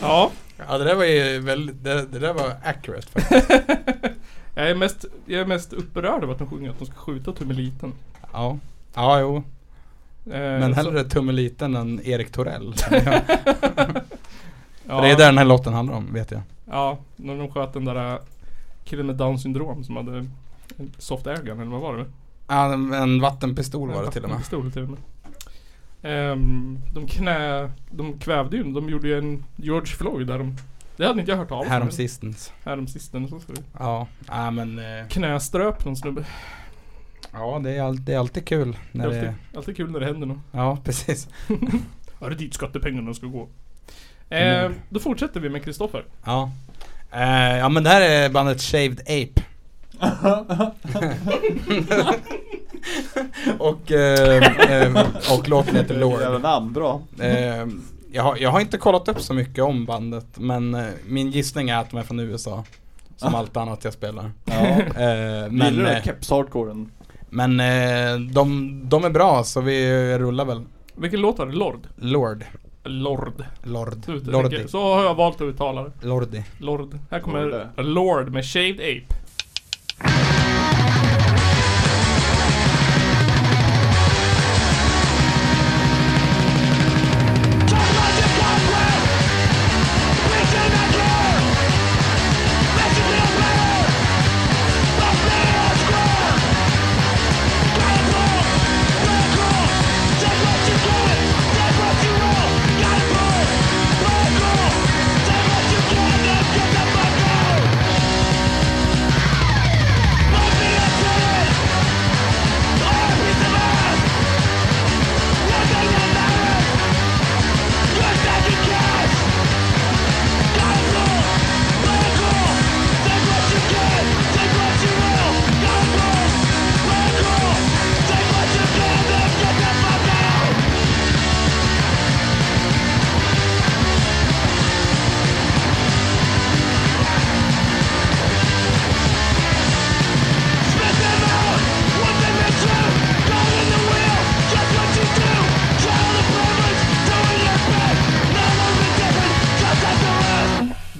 [SPEAKER 1] Ja,
[SPEAKER 2] Ja det där var ju väldigt, det, det där var accurate faktiskt.
[SPEAKER 1] jag är mest, jag är mest upprörd över att de sjunger att de ska skjuta tummeliten.
[SPEAKER 2] ja. Ja jo.
[SPEAKER 1] Eh,
[SPEAKER 2] Men
[SPEAKER 1] så-
[SPEAKER 2] hellre tummeliten än Erik Torell.
[SPEAKER 1] ja,
[SPEAKER 2] För det är det den här låten handlar om vet jag.
[SPEAKER 1] Ja, när de sköt den där eh, killen med down syndrom som hade en soft airgun eller vad var det?
[SPEAKER 2] Ja, en, en vattenpistol var det till och med.
[SPEAKER 1] Pistol till och med. Ehm, de knä, de kvävde ju, de gjorde ju en George Floyd där de Det hade inte jag hört av
[SPEAKER 2] Häromsistens.
[SPEAKER 1] Häromsistens så skulle
[SPEAKER 2] Ja, ja men eh,
[SPEAKER 1] Knäströp någon snubbe
[SPEAKER 2] ja det är, all, det är alltid kul.
[SPEAKER 1] det
[SPEAKER 2] När
[SPEAKER 1] är
[SPEAKER 2] det,
[SPEAKER 1] alltid, alltid kul när det händer något
[SPEAKER 2] ja precis.
[SPEAKER 1] Ja det är dit skattepengarna ska gå Ehm,
[SPEAKER 2] Mm.
[SPEAKER 1] Då fortsätter vi med Kristoffer
[SPEAKER 2] Ja. Eh, ja men det här är bandet Shaved Ape. och, eh, eh, och låten heter
[SPEAKER 3] Jävla
[SPEAKER 2] Lord.
[SPEAKER 3] namn, bra.
[SPEAKER 2] Eh, jag, har, jag har inte kollat upp så mycket om bandet men eh, min gissning är att de är från USA.
[SPEAKER 1] Ah.
[SPEAKER 2] Som allt annat jag spelar.
[SPEAKER 3] Ja.
[SPEAKER 2] Eh, men,
[SPEAKER 3] Gillar du
[SPEAKER 2] eh,
[SPEAKER 3] keps-hardcoren?
[SPEAKER 2] Men eh, de, de är bra så vi rullar väl.
[SPEAKER 1] Vilken låt var det? Lord?
[SPEAKER 2] Lord.
[SPEAKER 1] Lord.
[SPEAKER 2] Lord.
[SPEAKER 1] Slutet,
[SPEAKER 2] Lordi.
[SPEAKER 1] tänker- Så har jag valt att uttala det.
[SPEAKER 2] Lordi.
[SPEAKER 1] Lord. Här kommer
[SPEAKER 3] Lorde.
[SPEAKER 1] Lord med Shaved Ape.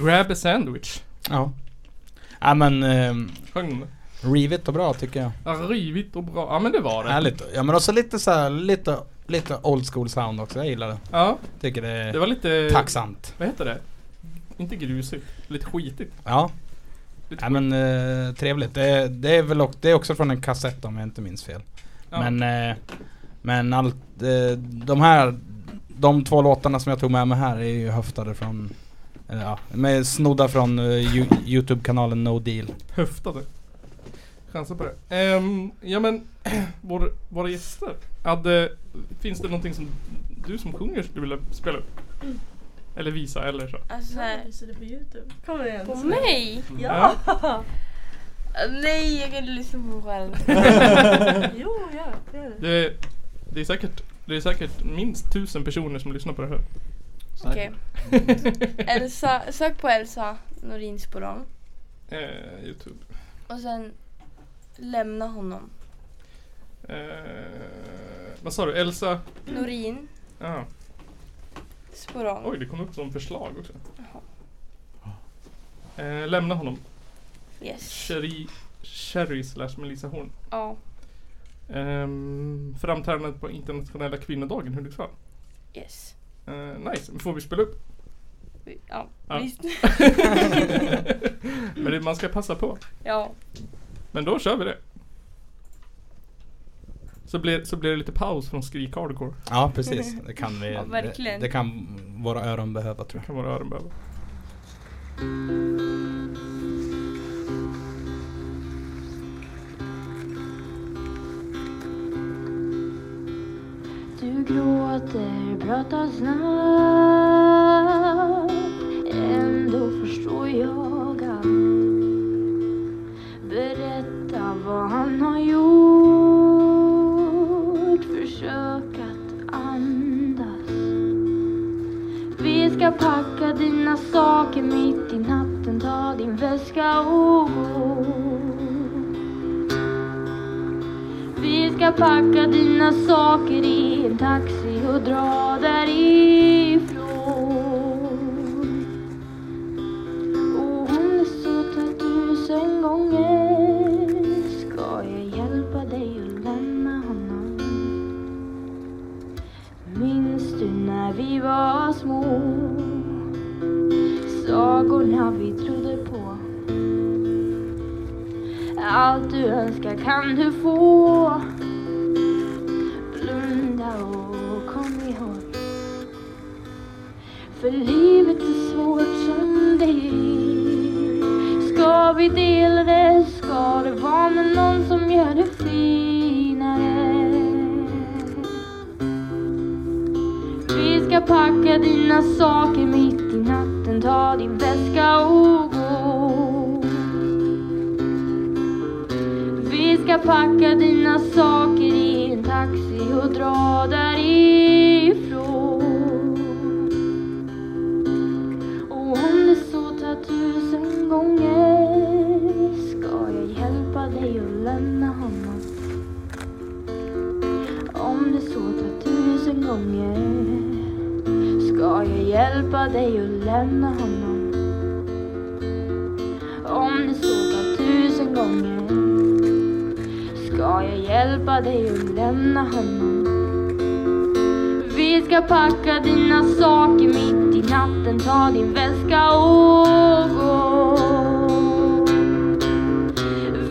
[SPEAKER 1] Grab a sandwich.
[SPEAKER 2] Ja. Ja men eh,
[SPEAKER 1] Sjöng den det?
[SPEAKER 2] rivigt och bra tycker jag.
[SPEAKER 1] Ja, Rivigt och bra. Ja men det var det.
[SPEAKER 2] Härligt. Ja men också lite så här, lite, lite old school sound också. Jag gillar det.
[SPEAKER 1] Ja.
[SPEAKER 2] Tycker det är
[SPEAKER 1] Det var lite...
[SPEAKER 2] tacksamt.
[SPEAKER 1] Vad heter det? Inte grusigt. Lite skitigt.
[SPEAKER 2] Ja.
[SPEAKER 1] Lite
[SPEAKER 2] Ja men eh, trevligt. Det, det är väl också, det är också från en kassett om jag inte minns fel.
[SPEAKER 1] Ja.
[SPEAKER 2] Men, eh, men allt, eh, de här, de två låtarna som jag tog med mig här är ju höftade från, eh, ja, med snodda från eh, Yo- Youtube-kanalen No Deal.
[SPEAKER 1] höftade. Chansa på det. Ehm, ja men, vår, våra gäster. Hade, finns det någonting som du som sjunger skulle vilja spela upp? Eller visa eller så?
[SPEAKER 11] Alltså, så här,
[SPEAKER 7] visade på Youtube. Kom igen.
[SPEAKER 11] på mig?
[SPEAKER 1] Ja.
[SPEAKER 11] Ah, Nej, jag kan inte lyssna på mig själv.
[SPEAKER 7] Jo, gör det. Gör det.
[SPEAKER 1] Det, det, är säkert, det är säkert minst tusen personer som lyssnar på det här.
[SPEAKER 11] Okej. Elsa, sök på Elsa Norins på dem.
[SPEAKER 1] Eh, Youtube.
[SPEAKER 11] Och sen lämna honom.
[SPEAKER 1] Eh, vad sa du? Elsa?
[SPEAKER 11] Norin
[SPEAKER 1] Ja.
[SPEAKER 11] Sporong.
[SPEAKER 1] Oj, det kom upp som förslag också. Eh, lämna honom.
[SPEAKER 11] Yes.
[SPEAKER 1] Cherry, Cherry slash Melissa Horn.
[SPEAKER 11] Ja.
[SPEAKER 1] Um, framträdandet på internationella kvinnodagen i Hudiksvall.
[SPEAKER 11] Yes.
[SPEAKER 1] Eh, nice, men får vi spela upp?
[SPEAKER 11] Vi- Ja.
[SPEAKER 1] Ja.
[SPEAKER 11] Visst.
[SPEAKER 1] Men det, man ska passa på.
[SPEAKER 11] ja.
[SPEAKER 1] Men då kör vi det. Så blir, så blir det lite paus från skrik hardcore.
[SPEAKER 2] Ja precis, det kan vi,
[SPEAKER 11] Ja,
[SPEAKER 2] det,
[SPEAKER 11] verkligen.
[SPEAKER 2] det kan våra öron behöva tror jag.
[SPEAKER 1] Kan våra öron behöva.
[SPEAKER 6] Du gråter, pratar snabbt Ändå förstår jag allt Berätta vad han har gjort Försök att andas Vi ska packa dina saker mitt i natten Ta din väska och gå vi ska packa dina saker i en taxi och dra därifrån. Och om det suttit tusen gånger ska jag hjälpa dig att lämna honom. Minns du när vi var små? Sagorna vi trodde på. Allt du önskar kan du få Blunda och kom ihåg För livet är svårt som det är Ska vi dela det ska det vara med någon som gör det finare Vi ska packa dina saker mitt i natten Ta din väska och gå vi ska packa dina saker i en taxi och dra därifrån. Och om det så tar tusen gånger
[SPEAKER 12] Ska jag hjälpa dig att lämna honom? Om du sågar tusen gånger Ska jag hjälpa dig att lämna honom? Vi ska packa dina saker mitt i natten Ta din väska och gå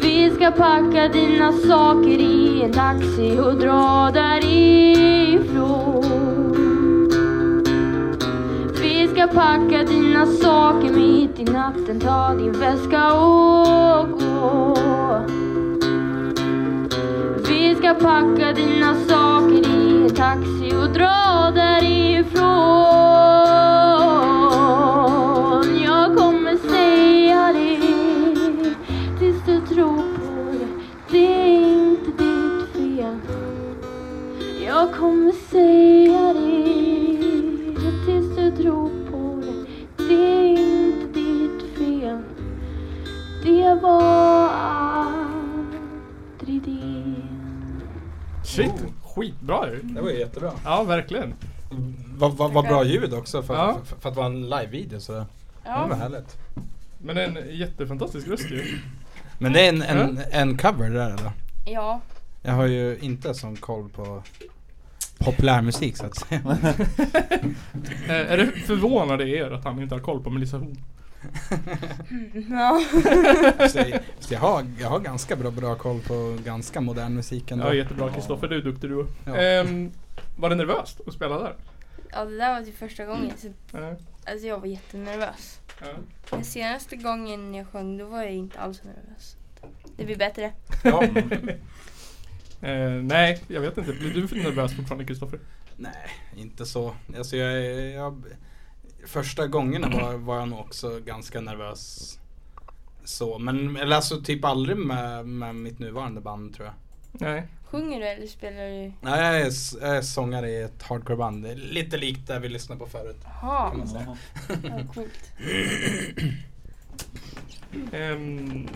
[SPEAKER 12] Vi ska packa dina saker i en taxi och dra därifrån vi ska packa dina saker mitt i natten Ta din väska och gå Vi ska packa dina saker i en taxi och dra därifrån Jag kommer säga det tills du tror på det Det är inte ditt fel Jag kommer säga det tills du tror på det Det är inte ditt fel Det var aldrig det
[SPEAKER 1] Shit, Oh, skitbra ju.
[SPEAKER 2] Det var ju jättebra.
[SPEAKER 1] Ja, verkligen.
[SPEAKER 2] Vad va, va bra ljud också för,
[SPEAKER 1] Ja.
[SPEAKER 2] för, för att vara en live-video så.
[SPEAKER 1] Ja.
[SPEAKER 2] Det var härligt.
[SPEAKER 1] Men en jättefantastisk röst ju.
[SPEAKER 2] Men det är en, en, en cover det där eller?
[SPEAKER 6] Ja.
[SPEAKER 2] Jag har ju inte sån koll på populärmusik så att säga.
[SPEAKER 1] Eh, är det förvånade er att han inte har koll på Melissa Horn?
[SPEAKER 6] Ja.
[SPEAKER 2] Så jag, så jag, har, jag har ganska bra, bra koll på ganska modern musik ändå.
[SPEAKER 1] Ja, jättebra Kristoffer. Du är duktig du.
[SPEAKER 2] Ja.
[SPEAKER 1] Ehm, var det nervöst att spela där?
[SPEAKER 6] Ja, det där var typ första gången. Så,
[SPEAKER 1] Ja.
[SPEAKER 6] alltså jag var jättenervös.
[SPEAKER 1] Ja.
[SPEAKER 6] Men senaste gången jag sjöng, då var jag inte alls nervös. Det blir bättre.
[SPEAKER 1] Eh, nej, jag vet inte. Blir du för nervös fortfarande Kristoffer?
[SPEAKER 2] Nej, inte så. Alltså jag, är- jag, första gångerna var, var jag nog också ganska nervös. Så, men eller alltså typ aldrig med, med mitt nuvarande band tror jag.
[SPEAKER 1] Nej.
[SPEAKER 6] Sjunger du eller spelar du?
[SPEAKER 2] Nej, jag är, s- jag är sångare i ett hardcoreband. Det är Lite likt det vi lyssnade på förut.
[SPEAKER 6] Jaha.
[SPEAKER 2] Kan man säga.
[SPEAKER 6] Ja, coolt.
[SPEAKER 1] Ehm,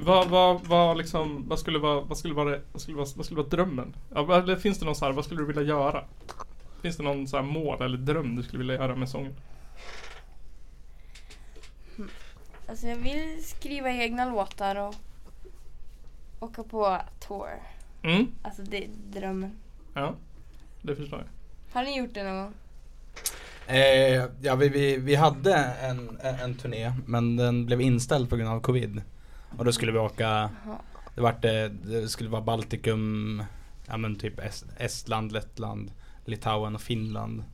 [SPEAKER 1] vad, vad, vad, liksom, vad skulle vara, vad skulle vara, det- vad skulle vara, vad skulle vara drömmen? Ja, vad- eller finns det någon så här, vad skulle du vilja göra? Finns det någon så här mål eller dröm du skulle vilja göra med sången?
[SPEAKER 6] Alltså jag vill skriva egna låtar och åka på tour.
[SPEAKER 1] Mm.
[SPEAKER 6] Alltså det är drömmen.
[SPEAKER 1] Ja, det förstår jag.
[SPEAKER 6] Har ni gjort det någon gång?
[SPEAKER 3] Mm.
[SPEAKER 2] Eh, ja, vi, vi, vi hade en, en, en turné men den blev inställd på grund av covid. Och då skulle vi åka, det, vart, eh, det skulle vara Baltikum, ja men typ Est, Estland, Lettland, Litauen och Finland.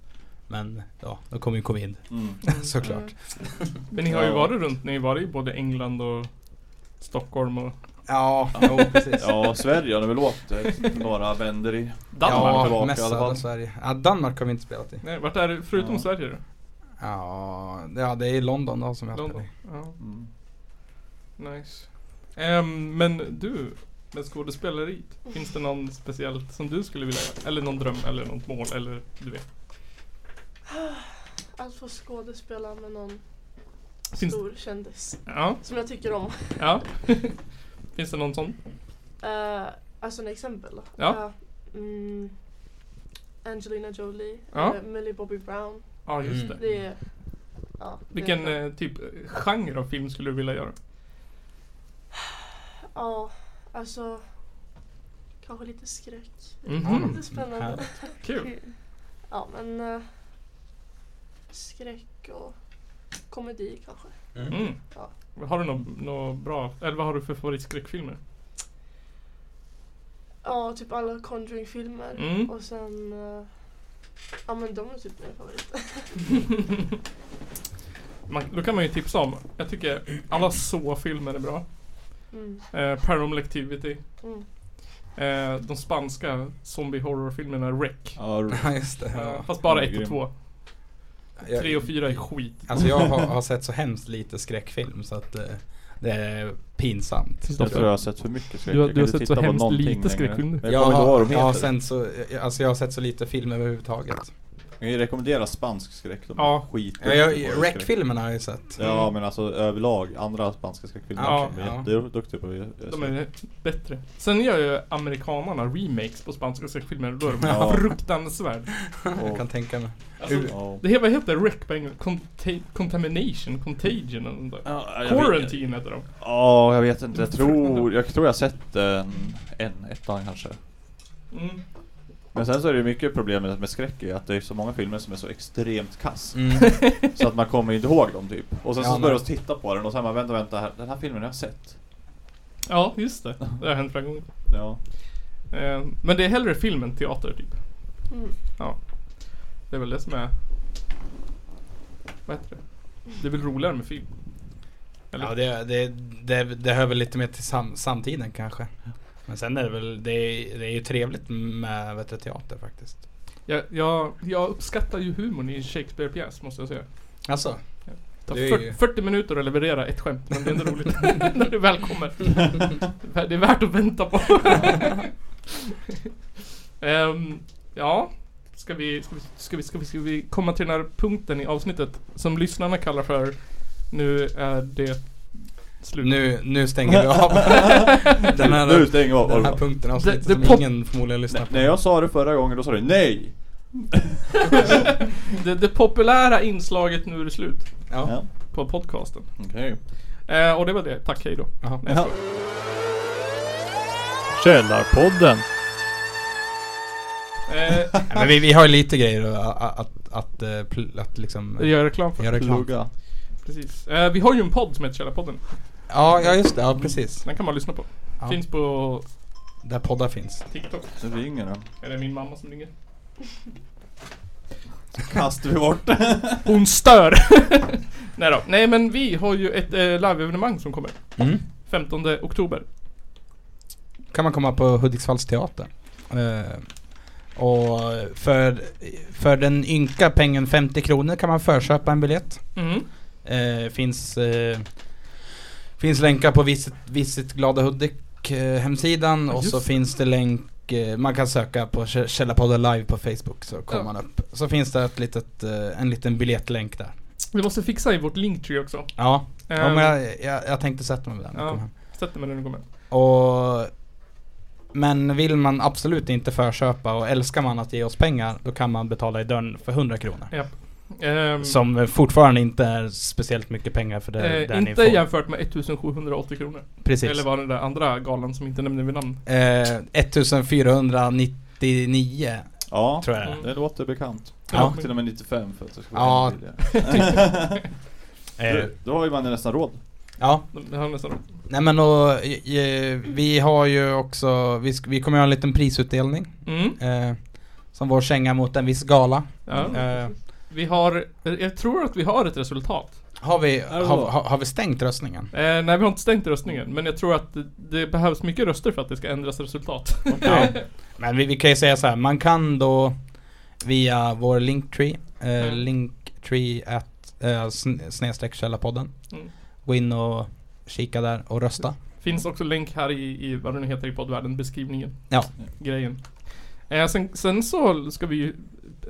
[SPEAKER 2] Men ja, då kom ju covid.
[SPEAKER 3] Mm.
[SPEAKER 2] Såklart.
[SPEAKER 1] Men ni har ju varit runt, ni har varit i både England och Stockholm och
[SPEAKER 2] Ja, jo, precis.
[SPEAKER 3] Ja, Sverige har de väl åkt eh, några vänder i.
[SPEAKER 2] Ja,
[SPEAKER 3] tillbaka
[SPEAKER 2] mest
[SPEAKER 3] i alla
[SPEAKER 2] södra
[SPEAKER 3] fall.
[SPEAKER 2] Sverige. Ja, Danmark har vi inte spelat i.
[SPEAKER 1] Nej, vart är det förutom
[SPEAKER 2] Ja.
[SPEAKER 1] Sverige då?
[SPEAKER 2] Ja, det- ja det är i London då som vi har
[SPEAKER 1] London?
[SPEAKER 2] spelat i.
[SPEAKER 1] Ja.
[SPEAKER 3] Mm.
[SPEAKER 1] Nice. Ehm, men du, med skådespeleri, finns det någon speciellt som du skulle vilja göra? Eller någon dröm eller något mål eller du vet?
[SPEAKER 7] Att få skådespela Alltså, med någon
[SPEAKER 1] Finns-
[SPEAKER 7] stor kändis.
[SPEAKER 1] Ja.
[SPEAKER 7] Som jag tycker om.
[SPEAKER 1] Ja. finns det någon sån?
[SPEAKER 7] Eh, alltså några exempel då.
[SPEAKER 1] Ja.
[SPEAKER 7] Eh, mm, Angelina Jolie,
[SPEAKER 1] Ja.
[SPEAKER 7] eh, Millie Bobby Brown.
[SPEAKER 1] Ja, just det.
[SPEAKER 7] Det är, ja, det
[SPEAKER 1] Vilken
[SPEAKER 7] är-
[SPEAKER 1] eh, typ eh, genre av film skulle du vilja göra?
[SPEAKER 7] Ja, alltså kanske lite skräck.
[SPEAKER 1] Mhm.
[SPEAKER 7] Lite spännande.
[SPEAKER 1] Härligt. Kul.
[SPEAKER 7] Ja, men eh, skräck och komedi kanske.
[SPEAKER 1] Mm.
[SPEAKER 7] Ja.
[SPEAKER 1] Har du något nå bra, eller vad har du för favoritskräckfilmer?
[SPEAKER 7] Ja, typ alla Conjuring-filmer.
[SPEAKER 1] Mm.
[SPEAKER 7] Och sen... eh, ja, men de är typ mina favoriter.
[SPEAKER 1] Man, då kan man ju tipsa om. Jag tycker alla så-filmer är bra.
[SPEAKER 7] Mm.
[SPEAKER 1] Eh, Paranormal Activity.
[SPEAKER 7] Mm.
[SPEAKER 1] Eh, de spanska zombie horror-filmerna Wreck.
[SPEAKER 3] Ja,
[SPEAKER 2] Ja, just det.
[SPEAKER 1] Eh,
[SPEAKER 2] Ja.
[SPEAKER 1] fast bara
[SPEAKER 2] Ja,
[SPEAKER 1] 1 och
[SPEAKER 2] grym.
[SPEAKER 1] 2.
[SPEAKER 2] Jag-
[SPEAKER 1] 3 och 4 är skit.
[SPEAKER 2] Alltså jag har, har sett så hemskt lite skräckfilm så att eh, det är pinsamt.
[SPEAKER 3] Jag tror jag har sett för mycket skräck.
[SPEAKER 1] Du har-
[SPEAKER 3] Jag
[SPEAKER 1] du
[SPEAKER 3] kan
[SPEAKER 1] har
[SPEAKER 3] inte
[SPEAKER 1] sett så
[SPEAKER 3] titta på
[SPEAKER 1] hemskt
[SPEAKER 3] någonting
[SPEAKER 1] lite
[SPEAKER 3] längre.
[SPEAKER 1] skräckfilm.
[SPEAKER 3] Men
[SPEAKER 2] Jag
[SPEAKER 3] Jag kommer inte ihåg vad
[SPEAKER 2] har,
[SPEAKER 3] de
[SPEAKER 2] jag, har
[SPEAKER 3] heter.
[SPEAKER 2] sen så, jag- alltså jag har sett så lite film överhuvudtaget.
[SPEAKER 3] kan ju rekommendera spansk skräck. De är
[SPEAKER 2] Ja.
[SPEAKER 3] skit.
[SPEAKER 2] Ja, jag- Rec-filmerna har jag ju sett.
[SPEAKER 3] Ja, men alltså överlag andra spanska skräckfilmer
[SPEAKER 1] Ja,
[SPEAKER 3] också. De är
[SPEAKER 1] ja.
[SPEAKER 3] jätteduktiga på det.
[SPEAKER 1] De är bättre. Sen gör ju amerikanarna remakes på spanska skräckfilmer. Då är de
[SPEAKER 2] Ja.
[SPEAKER 1] fruktansvärd.
[SPEAKER 2] Mm. Jag kan tänka mig.
[SPEAKER 1] Alltså,
[SPEAKER 2] Ja.
[SPEAKER 1] Det här, vad heter rec på engelska? Conta- contamination? Contagion? eller något där.
[SPEAKER 3] jag vet-
[SPEAKER 1] Quarantine heter de.
[SPEAKER 3] Ja, jag vet inte. Jag tror jag, tror jag har sett en, en ettan kanske.
[SPEAKER 1] Mm.
[SPEAKER 3] Men sen så är det ju mycket problemet med skräck är att det är så många filmer som är så extremt kass.
[SPEAKER 2] Mm.
[SPEAKER 3] så att man kommer inte ihåg dem typ. Och sen
[SPEAKER 2] Ja,
[SPEAKER 3] så
[SPEAKER 2] men-
[SPEAKER 3] börjar man titta på den och sen bara vänta, vänta här. Den här filmen har jag sett.
[SPEAKER 1] Ja, just det. Det har hänt flera gånger.
[SPEAKER 3] Ja.
[SPEAKER 1] Eh, Men det är hellre film än teater typ.
[SPEAKER 7] Mm.
[SPEAKER 1] Ja. Det är väl det som är... Vad heter det? Det är väl roligare med film? Eller?
[SPEAKER 2] Ja, det, det, det, det hör väl lite mer till sam, samtiden kanske. Men sen är det väl, det, är- det är ju trevligt med vet du, teater faktiskt.
[SPEAKER 1] Jag, jag, jag uppskattar ju humorn i en Shakespeare-pjäs måste jag säga.
[SPEAKER 2] Alltså,
[SPEAKER 1] Ja. Det tar
[SPEAKER 2] det är
[SPEAKER 1] 40,
[SPEAKER 2] ju-
[SPEAKER 1] 40 minuter att leverera ett skämt men det är ändå roligt när det väl kommer. Det är värt att vänta på. Ehm, ja, ska vi, ska, vi, ska, vi, ska, vi, ska vi komma till den här punkten i avsnittet som lyssnarna kallar för Nu är det slut.
[SPEAKER 2] Nu, nu stänger vi av. den här,
[SPEAKER 3] Nu stänger vi av.
[SPEAKER 2] Den här punkten av avsnittet
[SPEAKER 1] Det- det
[SPEAKER 2] som
[SPEAKER 1] pop-
[SPEAKER 2] ingen förmodligen lyssnar
[SPEAKER 3] Nej,
[SPEAKER 2] på.
[SPEAKER 3] när jag sa det förra gången då sa du nej!
[SPEAKER 1] det, det populära inslaget Nu är det slut
[SPEAKER 2] Ja.
[SPEAKER 3] Ja.
[SPEAKER 1] på podcasten.
[SPEAKER 3] Okej.
[SPEAKER 1] Eh, och det var det. Tack, hej då. Nej, jag skojar.
[SPEAKER 10] Källarpodden.
[SPEAKER 1] Eh,
[SPEAKER 2] Nej, men vi, vi har ju lite grejer att, att, att, att, eh, pl- att liksom...
[SPEAKER 1] Göra reklam för.
[SPEAKER 2] Göra reklam för.
[SPEAKER 1] Precis. Eh, vi har ju en podd som heter Källarpodden.
[SPEAKER 2] Ja, ja just det. Ja, precis.
[SPEAKER 1] Den kan man lyssna på.
[SPEAKER 2] Ja.
[SPEAKER 1] Finns på
[SPEAKER 2] Där poddar finns.
[SPEAKER 1] TikTok.
[SPEAKER 3] Nu ringer den.
[SPEAKER 1] Är det min mamma som ringer?
[SPEAKER 3] Kastar vi bort
[SPEAKER 1] Hon stör! Nej då. Nej men vi har ju ett eh, live-evenemang som kommer.
[SPEAKER 2] Mm.
[SPEAKER 1] 15 oktober.
[SPEAKER 2] kan man komma på Hudiksvallsteatern. Eh, och för, för den ynka pengen 50 kronor kan man förköpa en biljett.
[SPEAKER 1] Mm.
[SPEAKER 2] Eh, finns, eh, finns länkar på Visit, Visit Glada Hudik eh, hemsidan
[SPEAKER 1] Ja,
[SPEAKER 2] och så
[SPEAKER 1] just
[SPEAKER 2] finns det länk eh, man kan söka på Kä- Källarpodden live på Facebook så kommer
[SPEAKER 1] Ja.
[SPEAKER 2] man upp. Så finns det ett litet, eh, en liten biljettlänk där.
[SPEAKER 1] Vi måste fixa i vårt linktree också.
[SPEAKER 2] Ja, ja
[SPEAKER 1] Ehm.
[SPEAKER 2] men jag, jag, jag tänkte sätta mig där. när jag kom
[SPEAKER 1] Ja.
[SPEAKER 2] hem.
[SPEAKER 1] Sätt dig med den du kommer.
[SPEAKER 2] Och, men vill man absolut inte förköpa och älskar man att ge oss pengar då kan man betala i dörren för 100 kronor.
[SPEAKER 1] Ja. Ehm,
[SPEAKER 2] Som fortfarande inte är speciellt mycket pengar för det,
[SPEAKER 1] eh,
[SPEAKER 2] där ni
[SPEAKER 1] inte
[SPEAKER 2] får.
[SPEAKER 1] jämfört med 1780 kronor.
[SPEAKER 2] Precis.
[SPEAKER 1] Eller var den där andra galan som inte nämnde vid namn.
[SPEAKER 2] Eh, 1499
[SPEAKER 3] Ja,
[SPEAKER 2] tror jag det är.
[SPEAKER 1] Mm.
[SPEAKER 3] det låter bekant.
[SPEAKER 2] Ja.
[SPEAKER 3] Ja. Till och med 95 för att det ska
[SPEAKER 2] Ja.
[SPEAKER 3] vara
[SPEAKER 2] Eh,
[SPEAKER 3] ja. Då har ju man nästan råd.
[SPEAKER 2] Ja,
[SPEAKER 1] De- Det har nästan
[SPEAKER 2] nej men och, eh, vi har ju också, vi, sk- vi kommer ha en liten prisutdelning
[SPEAKER 1] Mm.
[SPEAKER 2] eh, Som vår känga mot en viss gala
[SPEAKER 1] Ja.
[SPEAKER 2] eh,
[SPEAKER 1] Vi har, jag tror att vi har ett resultat.
[SPEAKER 2] har, vi,
[SPEAKER 3] det
[SPEAKER 2] har,
[SPEAKER 3] så?
[SPEAKER 2] har, har vi stängt röstningen?
[SPEAKER 1] Eh, nej, vi har inte stängt röstningen. Men jag tror att det, det behövs mycket röster för att det ska ändras resultat.
[SPEAKER 2] Ja. Men vi, vi kan ju säga så här, man kan då via vår linktree, eh,
[SPEAKER 1] Mm.
[SPEAKER 2] linktree at, eh, sn- snedstreck källarpodden.
[SPEAKER 1] Mm.
[SPEAKER 2] Gå in och kika där och rösta.
[SPEAKER 1] Finns också länk här i, i vad det nu heter i poddvärlden, beskrivningen.
[SPEAKER 2] Ja.
[SPEAKER 1] Grejen. Eh, sen, sen så ska vi ju,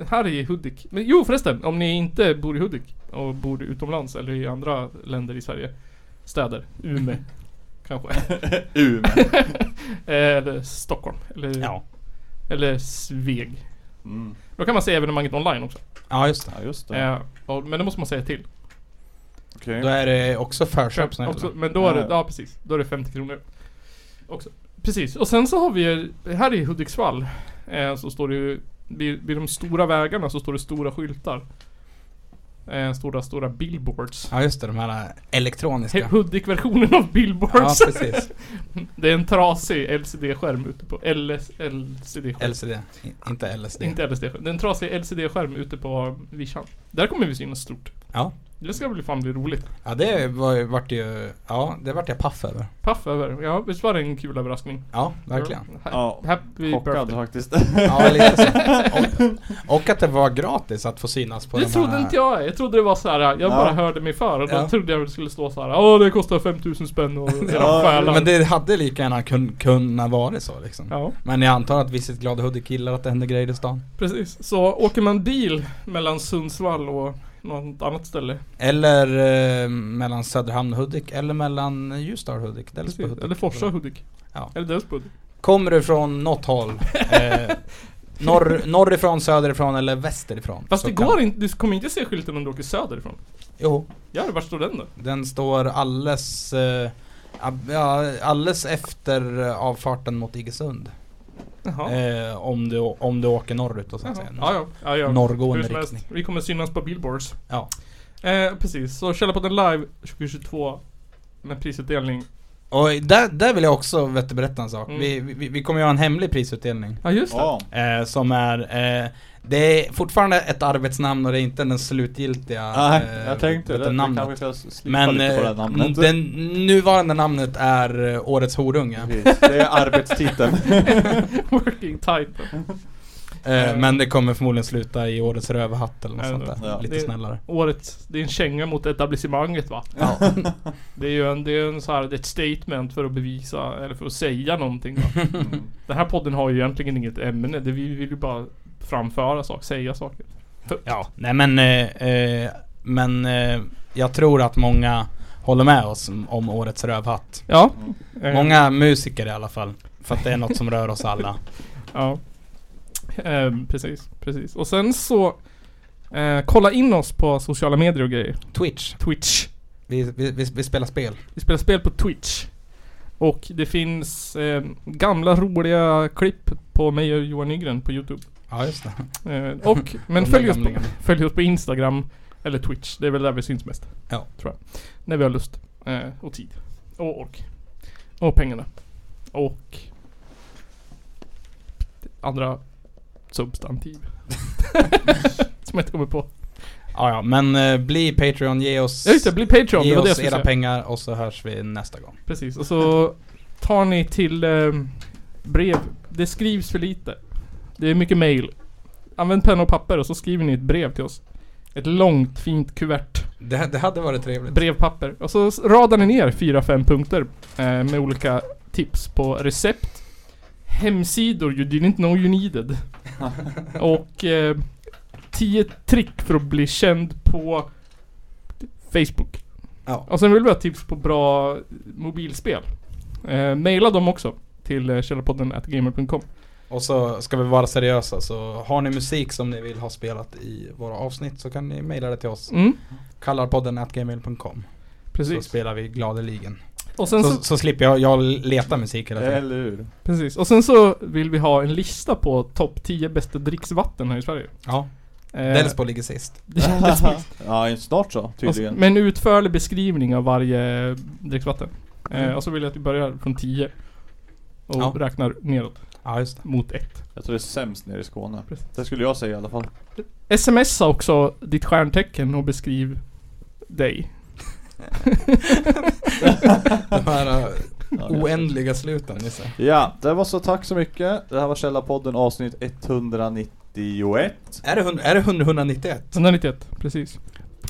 [SPEAKER 1] här i Hudik. Men jo förresten, om ni inte bor i Hudik och bor utomlands eller i andra länder i Sverige. Städer, Umeå kanske.
[SPEAKER 3] Umeå.
[SPEAKER 1] Eh, eller Stockholm. Eller,
[SPEAKER 2] Ja.
[SPEAKER 1] eller Sveg.
[SPEAKER 3] Mm.
[SPEAKER 1] Då kan man se evenemanget online också.
[SPEAKER 2] Ja just det.
[SPEAKER 3] Ja, just det.
[SPEAKER 1] Eh, och, men det måste man säga till.
[SPEAKER 3] Okej.
[SPEAKER 2] Då är det också förköp som
[SPEAKER 1] Också,
[SPEAKER 2] heter det.
[SPEAKER 1] men då är det,
[SPEAKER 3] Ja.
[SPEAKER 1] ja precis. Då är det 50 kronor. Också. Precis, och sen så har vi ju- här i Hudiksvall eh, så står det ju vid, vid de stora vägarna så står det stora skyltar. Eh, stora, stora billboards.
[SPEAKER 2] Ja just det, de här äh,
[SPEAKER 1] He-
[SPEAKER 2] elektroniska.
[SPEAKER 1] Hudik-versionen av
[SPEAKER 2] Ja
[SPEAKER 1] billboards.
[SPEAKER 2] precis.
[SPEAKER 1] det är en trasig LCD-skärm ute på LS, LCD-skärm.
[SPEAKER 2] LCD, I- inte LSD.
[SPEAKER 1] Inte LCD-skärm. Det är en trasig LCD-skärm ute på vischan. Där kommer vi synas stort.
[SPEAKER 2] Ja.
[SPEAKER 1] Det ska bli fan bli roligt.
[SPEAKER 2] Ja det var, ju- vart ju, ja det vart jag paff över.
[SPEAKER 1] Paff över. Ja, visst var det en kul överraskning?
[SPEAKER 2] Ja, verkligen.
[SPEAKER 1] Ha-
[SPEAKER 3] Ja,
[SPEAKER 1] Happy
[SPEAKER 3] chockad
[SPEAKER 1] birthday.
[SPEAKER 3] faktiskt.
[SPEAKER 2] Ja, lite så. Och, och att det var gratis att få synas på
[SPEAKER 1] Det
[SPEAKER 2] de
[SPEAKER 1] trodde
[SPEAKER 2] här...
[SPEAKER 1] inte jag. Jag trodde det var så här. jag
[SPEAKER 2] Ja.
[SPEAKER 1] bara hörde mig för och då
[SPEAKER 2] Ja.
[SPEAKER 1] trodde jag det skulle stå så här. Åh, det kostar 5000 spänn och era själar.
[SPEAKER 2] men det hade lika gärna kun, kunnat vara så liksom.
[SPEAKER 1] Ja.
[SPEAKER 2] Men jag antar att Visit Glada Hudik gillar att det händer grejer i stan.
[SPEAKER 1] Precis. Så åker man bil mellan Sundsvall och något annat ställe.
[SPEAKER 2] Eller eh, mellan Söderhamn och Hudik, eller mellan Ljusdal och Hudik, Delsbo och Hudik.
[SPEAKER 1] Eller Forsa och Hudik.
[SPEAKER 2] Ja.
[SPEAKER 1] Eller Delsbo och Hudik.
[SPEAKER 2] Kommer du från något håll, eh, norr, norrifrån, söderifrån eller västerifrån?
[SPEAKER 1] Fast
[SPEAKER 2] så
[SPEAKER 1] det
[SPEAKER 2] kan-
[SPEAKER 1] går inte, du kommer inte se skylten om du åker söderifrån.
[SPEAKER 2] Jo.
[SPEAKER 1] Ja, var står den då?
[SPEAKER 2] Den står alldeles, eh, ab- ja, alldeles efter eh, avfarten mot Iggesund.
[SPEAKER 1] Jaha.
[SPEAKER 2] Eh, om, du, om du åker norrut och sen
[SPEAKER 1] Jaha. Ja, ja. ja, ja.
[SPEAKER 2] Norrgående
[SPEAKER 1] Hur som helst,
[SPEAKER 2] riktning.
[SPEAKER 1] Vi kommer synas på billboards.
[SPEAKER 2] Ja.
[SPEAKER 1] Eh, precis, så Källarpodden live 2022 med prisutdelning.
[SPEAKER 2] Och där, där vill jag också vet, du, berätta en sak.
[SPEAKER 1] Mm.
[SPEAKER 2] Vi, vi, vi kommer ju ha en hemlig prisutdelning.
[SPEAKER 1] Ja, just det. Ja.
[SPEAKER 2] Eh, som är, eh, det är fortfarande ett arbetsnamn och det är inte den slutgiltiga
[SPEAKER 3] Nej, jag tänkte
[SPEAKER 2] vet du,
[SPEAKER 3] det. Vi
[SPEAKER 2] Eh, namnet.
[SPEAKER 3] kanske ska slippa
[SPEAKER 2] Men
[SPEAKER 3] lite på det
[SPEAKER 2] eh,
[SPEAKER 3] namnet.
[SPEAKER 2] den nuvarande namnet är eh, Årets horunge.
[SPEAKER 3] Precis, det är arbetstiteln.
[SPEAKER 1] Working title.
[SPEAKER 2] Eh, men det kommer förmodligen sluta i Årets rövhatt eller något sånt där.
[SPEAKER 1] Ja.
[SPEAKER 2] Lite
[SPEAKER 1] Det är
[SPEAKER 2] snällare.
[SPEAKER 1] Årets, det är en känga mot etablissemanget va?
[SPEAKER 2] Ja.
[SPEAKER 1] Det är ju en, det är en så här, det är ett statement för att bevisa, eller för att säga någonting va?
[SPEAKER 3] Mm.
[SPEAKER 1] Den här podden har ju egentligen inget ämne, det, vi vill ju bara framföra saker, säga saker.
[SPEAKER 2] Ja, nej men, eh, eh, men eh, jag tror att många håller med oss om- om Årets rövhatt.
[SPEAKER 1] Ja. Eh,
[SPEAKER 2] Många musiker i alla fall. För att det är något som rör oss alla.
[SPEAKER 1] Ja. Ehm, precis, precis. Och sen så eh, kolla in oss på sociala medier och grejer.
[SPEAKER 2] Twitch.
[SPEAKER 1] Twitch.
[SPEAKER 2] Vi, vi, vi, vi spelar spel.
[SPEAKER 1] Vi spelar spel på Twitch. Och det finns eh, gamla roliga klipp på mig och Johan Nygren på Youtube.
[SPEAKER 2] Ja, just
[SPEAKER 1] Eh, och, men
[SPEAKER 2] De
[SPEAKER 1] följ
[SPEAKER 2] där
[SPEAKER 1] oss, på,
[SPEAKER 2] gamlingarna.
[SPEAKER 1] följ oss på Instagram eller Twitch. Det är väl där vi syns mest.
[SPEAKER 2] Ja.
[SPEAKER 1] Tror jag. När vi har lust. Eh, och tid. Och ork. Och pengarna. Och andra substantiv. Som jag inte kommer på.
[SPEAKER 2] Ja, ja men eh, bli Patreon, ge oss...
[SPEAKER 1] Ja, just det, bli Patreon, det
[SPEAKER 2] Ge
[SPEAKER 1] var det jag
[SPEAKER 2] oss
[SPEAKER 1] skulle
[SPEAKER 2] era
[SPEAKER 1] säga.
[SPEAKER 2] pengar och så hörs vi nästa gång.
[SPEAKER 1] Precis. Och så tar ni till ehm, brev. Det skrivs för lite. Det är mycket mail. Använd penna och papper och så skriver ni ett brev till oss. Ett långt fint kuvert.
[SPEAKER 2] Det, det hade varit trevligt.
[SPEAKER 1] Brevpapper. Och så s- radar ni ner fyra, fem punkter eh, med olika tips på recept, hemsidor, you didn't know you needed. och eh, tio trick för att bli känd på Facebook.
[SPEAKER 2] Ja.
[SPEAKER 1] Och sen vill vi ha tips på bra mobilspel. Eh, maila dem också till eh, källarpodden@gamer.com.
[SPEAKER 2] Och så ska vi vara seriösa, så har ni musik som ni vill ha spelat i våra avsnitt så kan ni mejla det till oss.
[SPEAKER 1] Mm.
[SPEAKER 2] Kallarpodden at gmail.com Så
[SPEAKER 1] Precis.
[SPEAKER 2] spelar vi gladeligen.
[SPEAKER 1] Och sen
[SPEAKER 2] så,
[SPEAKER 1] så-
[SPEAKER 2] så, slipper jag, jag leta musik hela tiden.
[SPEAKER 3] Eller hur?
[SPEAKER 1] Precis, och sen så vill vi ha en lista på topp 10 bästa dricksvatten här i Sverige.
[SPEAKER 2] Ja.
[SPEAKER 1] Eh,
[SPEAKER 2] Delsbo ligger sist.
[SPEAKER 1] Delsbo ligger sist.
[SPEAKER 3] ja, snart så tydligen.
[SPEAKER 1] Och s- Alltså, Med en utförlig beskrivning av varje dricksvatten. Eh,
[SPEAKER 3] Mm.
[SPEAKER 1] och så vill jag att vi börjar från 10. Och
[SPEAKER 2] Ja.
[SPEAKER 1] räknar neråt.
[SPEAKER 2] Ja, just det.
[SPEAKER 1] Mot 1.
[SPEAKER 3] Jag tror det är sämst nere i Skåne. Det skulle jag säga i alla fall.
[SPEAKER 1] Smsa också ditt stjärntecken och beskriv dig.
[SPEAKER 2] De här eh,
[SPEAKER 3] Ja, det är
[SPEAKER 2] oändliga sluten Nisse.
[SPEAKER 3] Ja, det var så tack så mycket. Det här var Källarpodden avsnitt 191.
[SPEAKER 2] Är det, hund- är det 100, 191?
[SPEAKER 1] 191, precis.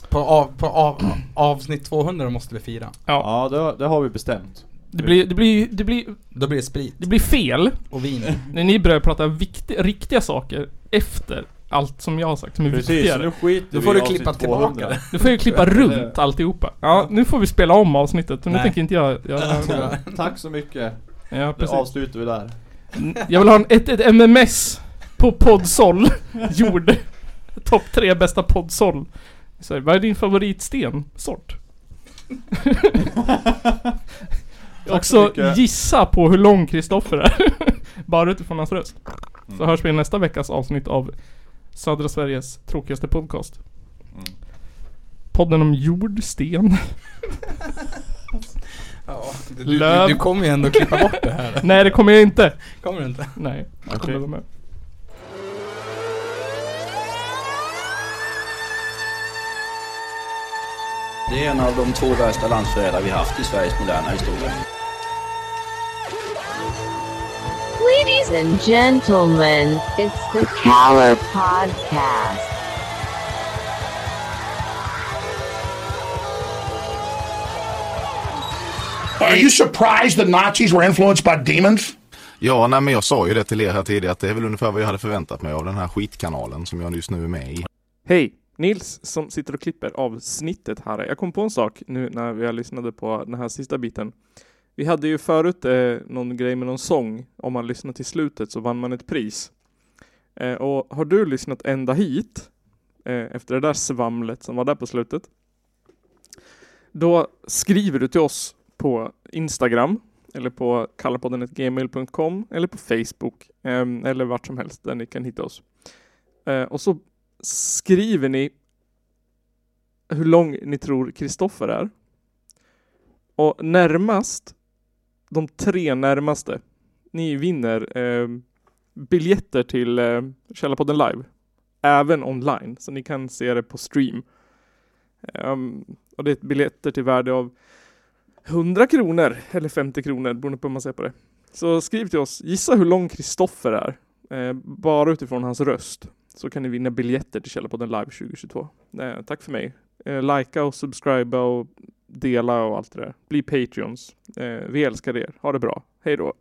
[SPEAKER 2] På, av, på av, avsnitt 200 måste vi fira.
[SPEAKER 3] Ja, det, det har vi bestämt.
[SPEAKER 1] Det blir, det blir, det blir,
[SPEAKER 2] Då blir det sprit.
[SPEAKER 1] det blir fel.
[SPEAKER 2] Och vin.
[SPEAKER 1] När ni börjar prata vikti- riktiga saker efter allt som jag har sagt som är
[SPEAKER 3] Precis,
[SPEAKER 1] viktigare.
[SPEAKER 3] nu skiter
[SPEAKER 2] Då
[SPEAKER 3] vi
[SPEAKER 2] får
[SPEAKER 3] i
[SPEAKER 2] du klippa
[SPEAKER 3] avsnitt 200.
[SPEAKER 2] tillbaka.
[SPEAKER 1] Nu får jag klippa runt alltihopa. Ja, nu får vi spela om avsnittet. Nu
[SPEAKER 2] Nej.
[SPEAKER 1] tänker inte jag... jag, jag
[SPEAKER 3] Tack så mycket.
[SPEAKER 1] ja,
[SPEAKER 3] Nu
[SPEAKER 1] precis.
[SPEAKER 3] avslutar vi där.
[SPEAKER 1] Jag vill ha en, ett, ett MMS på Podsoll gjord. Topp tre bästa Podsoll. Så, här, vad är din favoritsten? Sort?
[SPEAKER 3] så
[SPEAKER 1] Också
[SPEAKER 3] mycket.
[SPEAKER 1] gissa på hur lång Kristoffer är. Bara utifrån hans röst.
[SPEAKER 3] Mm.
[SPEAKER 1] Så hörs vi i nästa veckas avsnitt av Södra Sveriges tråkigaste podcast.
[SPEAKER 3] Mm.
[SPEAKER 1] Podden om jord, sten.
[SPEAKER 2] Ja, du,
[SPEAKER 1] Löv.
[SPEAKER 2] du, du kommer ju ändå klippa bort det här.
[SPEAKER 1] Nej, det kommer jag inte.
[SPEAKER 2] Kommer du inte?
[SPEAKER 1] Nej, jag kommer
[SPEAKER 3] Okej.
[SPEAKER 1] vara med.
[SPEAKER 4] Det är en av de två värsta landsförrädare vi haft i Sveriges moderna historia.
[SPEAKER 5] Ladies and gentlemen, it's the Caller Podcast.
[SPEAKER 13] Are you surprised the Nazis were influenced by demons?
[SPEAKER 14] Ja, nej, men jag sa ju det till er här tidigare att det är väl ungefär vad jag hade förväntat mig av den här skitkanalen som jag just nu är med i.
[SPEAKER 8] Hej! Nils som sitter och klipper avsnittet här. Jag kom på en sak nu när jag lyssnade på den här sista biten. Vi hade ju förut eh, någon grej med någon sång. Om man lyssnar till slutet så vann man ett pris. Eh, och har du lyssnat ända hit eh, efter det där svamlet som var där på slutet. Då skriver du till oss på Instagram eller på kallarpodden.gmail.com eller på Facebook eh, eller vart som helst där ni kan hitta oss. Eh, och så skriver ni hur lång ni tror Kristoffer är. Och närmast, de tre närmaste, ni vinner eh, biljetter till eh, Källarpodden live. Även online, så ni kan se det på stream. Ehm, och det är biljetter till värde av 100 kronor, eller 50 kronor, beroende på hur man ser på det. Så skriv till oss, gissa hur lång Kristoffer är. Eh, bara utifrån hans röst. Så kan ni vinna biljetter till Källarpodden live 2022. Eh, tack för mig. Eh, Likea och subscriba och dela och allt det där. Bli Patreons. Eh, vi älskar er. Ha det bra. Hej då.